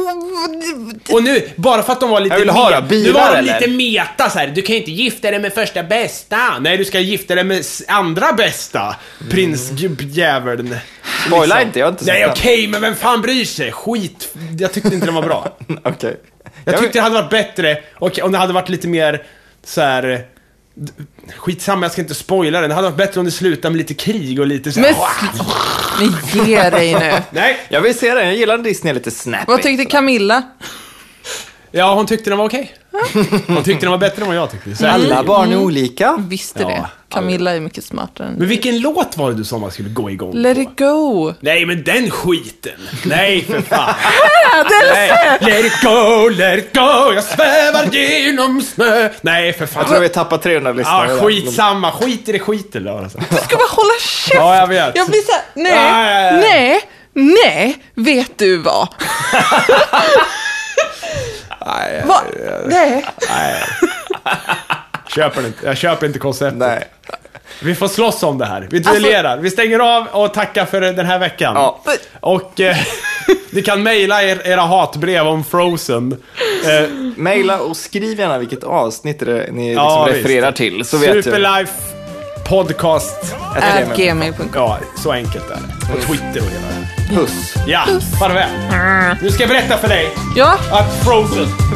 C: vad-
A: Och nu, bara för att de var lite...
B: Jag vill ha
A: me-
B: det, bilar,
A: Nu var de
B: eller?
A: lite meta så här. du kan ju inte gifta dig med första bästa. Nej, du ska gifta dig med s- andra bästa.
B: Mm.
A: Prinsgubbjäveln.
B: Spoila inte, jag har inte sett
A: Nej,
B: den.
A: okej, men vem fan bryr sig? Skit. Jag tyckte inte den var bra.
B: Okej.
A: Jag
B: Jag
A: tyckte det hade varit bättre och om det hade varit lite mer så här. d- Skitsamma, jag ska inte spoila den. Det hade varit bättre om det slutade med lite krig och lite så här,
C: Men,
A: "Wah!"
C: sl- men ge dig nu.
A: Nej,
B: Jag vill se den, jag gillar när Disney är lite snappy.
C: Vad tyckte Camilla?
A: ja hon tyckte den var okej. Hon tyckte den var bättre än vad jag tyckte. Så här-
C: Mm.
B: Alla barn är olika.
C: Visste
A: Ja,
C: det. Camilla är mycket smartare än
A: Men vilken låt var det du sa man skulle gå igång
C: Let
A: på?
C: it go!
A: Nej, men den skiten! Nej, för fan! Nej. Let it go, let it go, jag svävar genom snö! Nej, för fan!
B: Jag tror vi tappar 300 lyssnare.
A: Ja, Mm. Ah, skitsamma, skit i det, skit i det. Alltså.
C: Du ska bara hålla käften!
A: Ja, jag vet.
C: Jag blir såhär, nej,
A: Ja, ja, ja.
C: nej, nej, vet du vad? Va? Nej.
A: Köper inte, jag köper inte konceptet.
B: Nej. Alltså-
A: Vi får slåss om det här. Vi duellerar. Vi stänger av och tackar för den här veckan.
B: Ja.
A: Och eh, ni kan mejla er, era hatbrev om Frozen. Eh,
B: Maila och skriv gärna vilket avsnitt det är ni liksom
A: Ja, visst.
B: refererar till. Så vet jag.
A: Superlife podcast.
B: Jag
C: At
B: tar det med.
C: gmail.com.
A: Ja, så enkelt är det.
B: Mm.
A: På Twitter och hela det.
B: Puss.
A: Ja, farväl. Nu ska jag berätta för dig
C: Ja,
A: att Frozen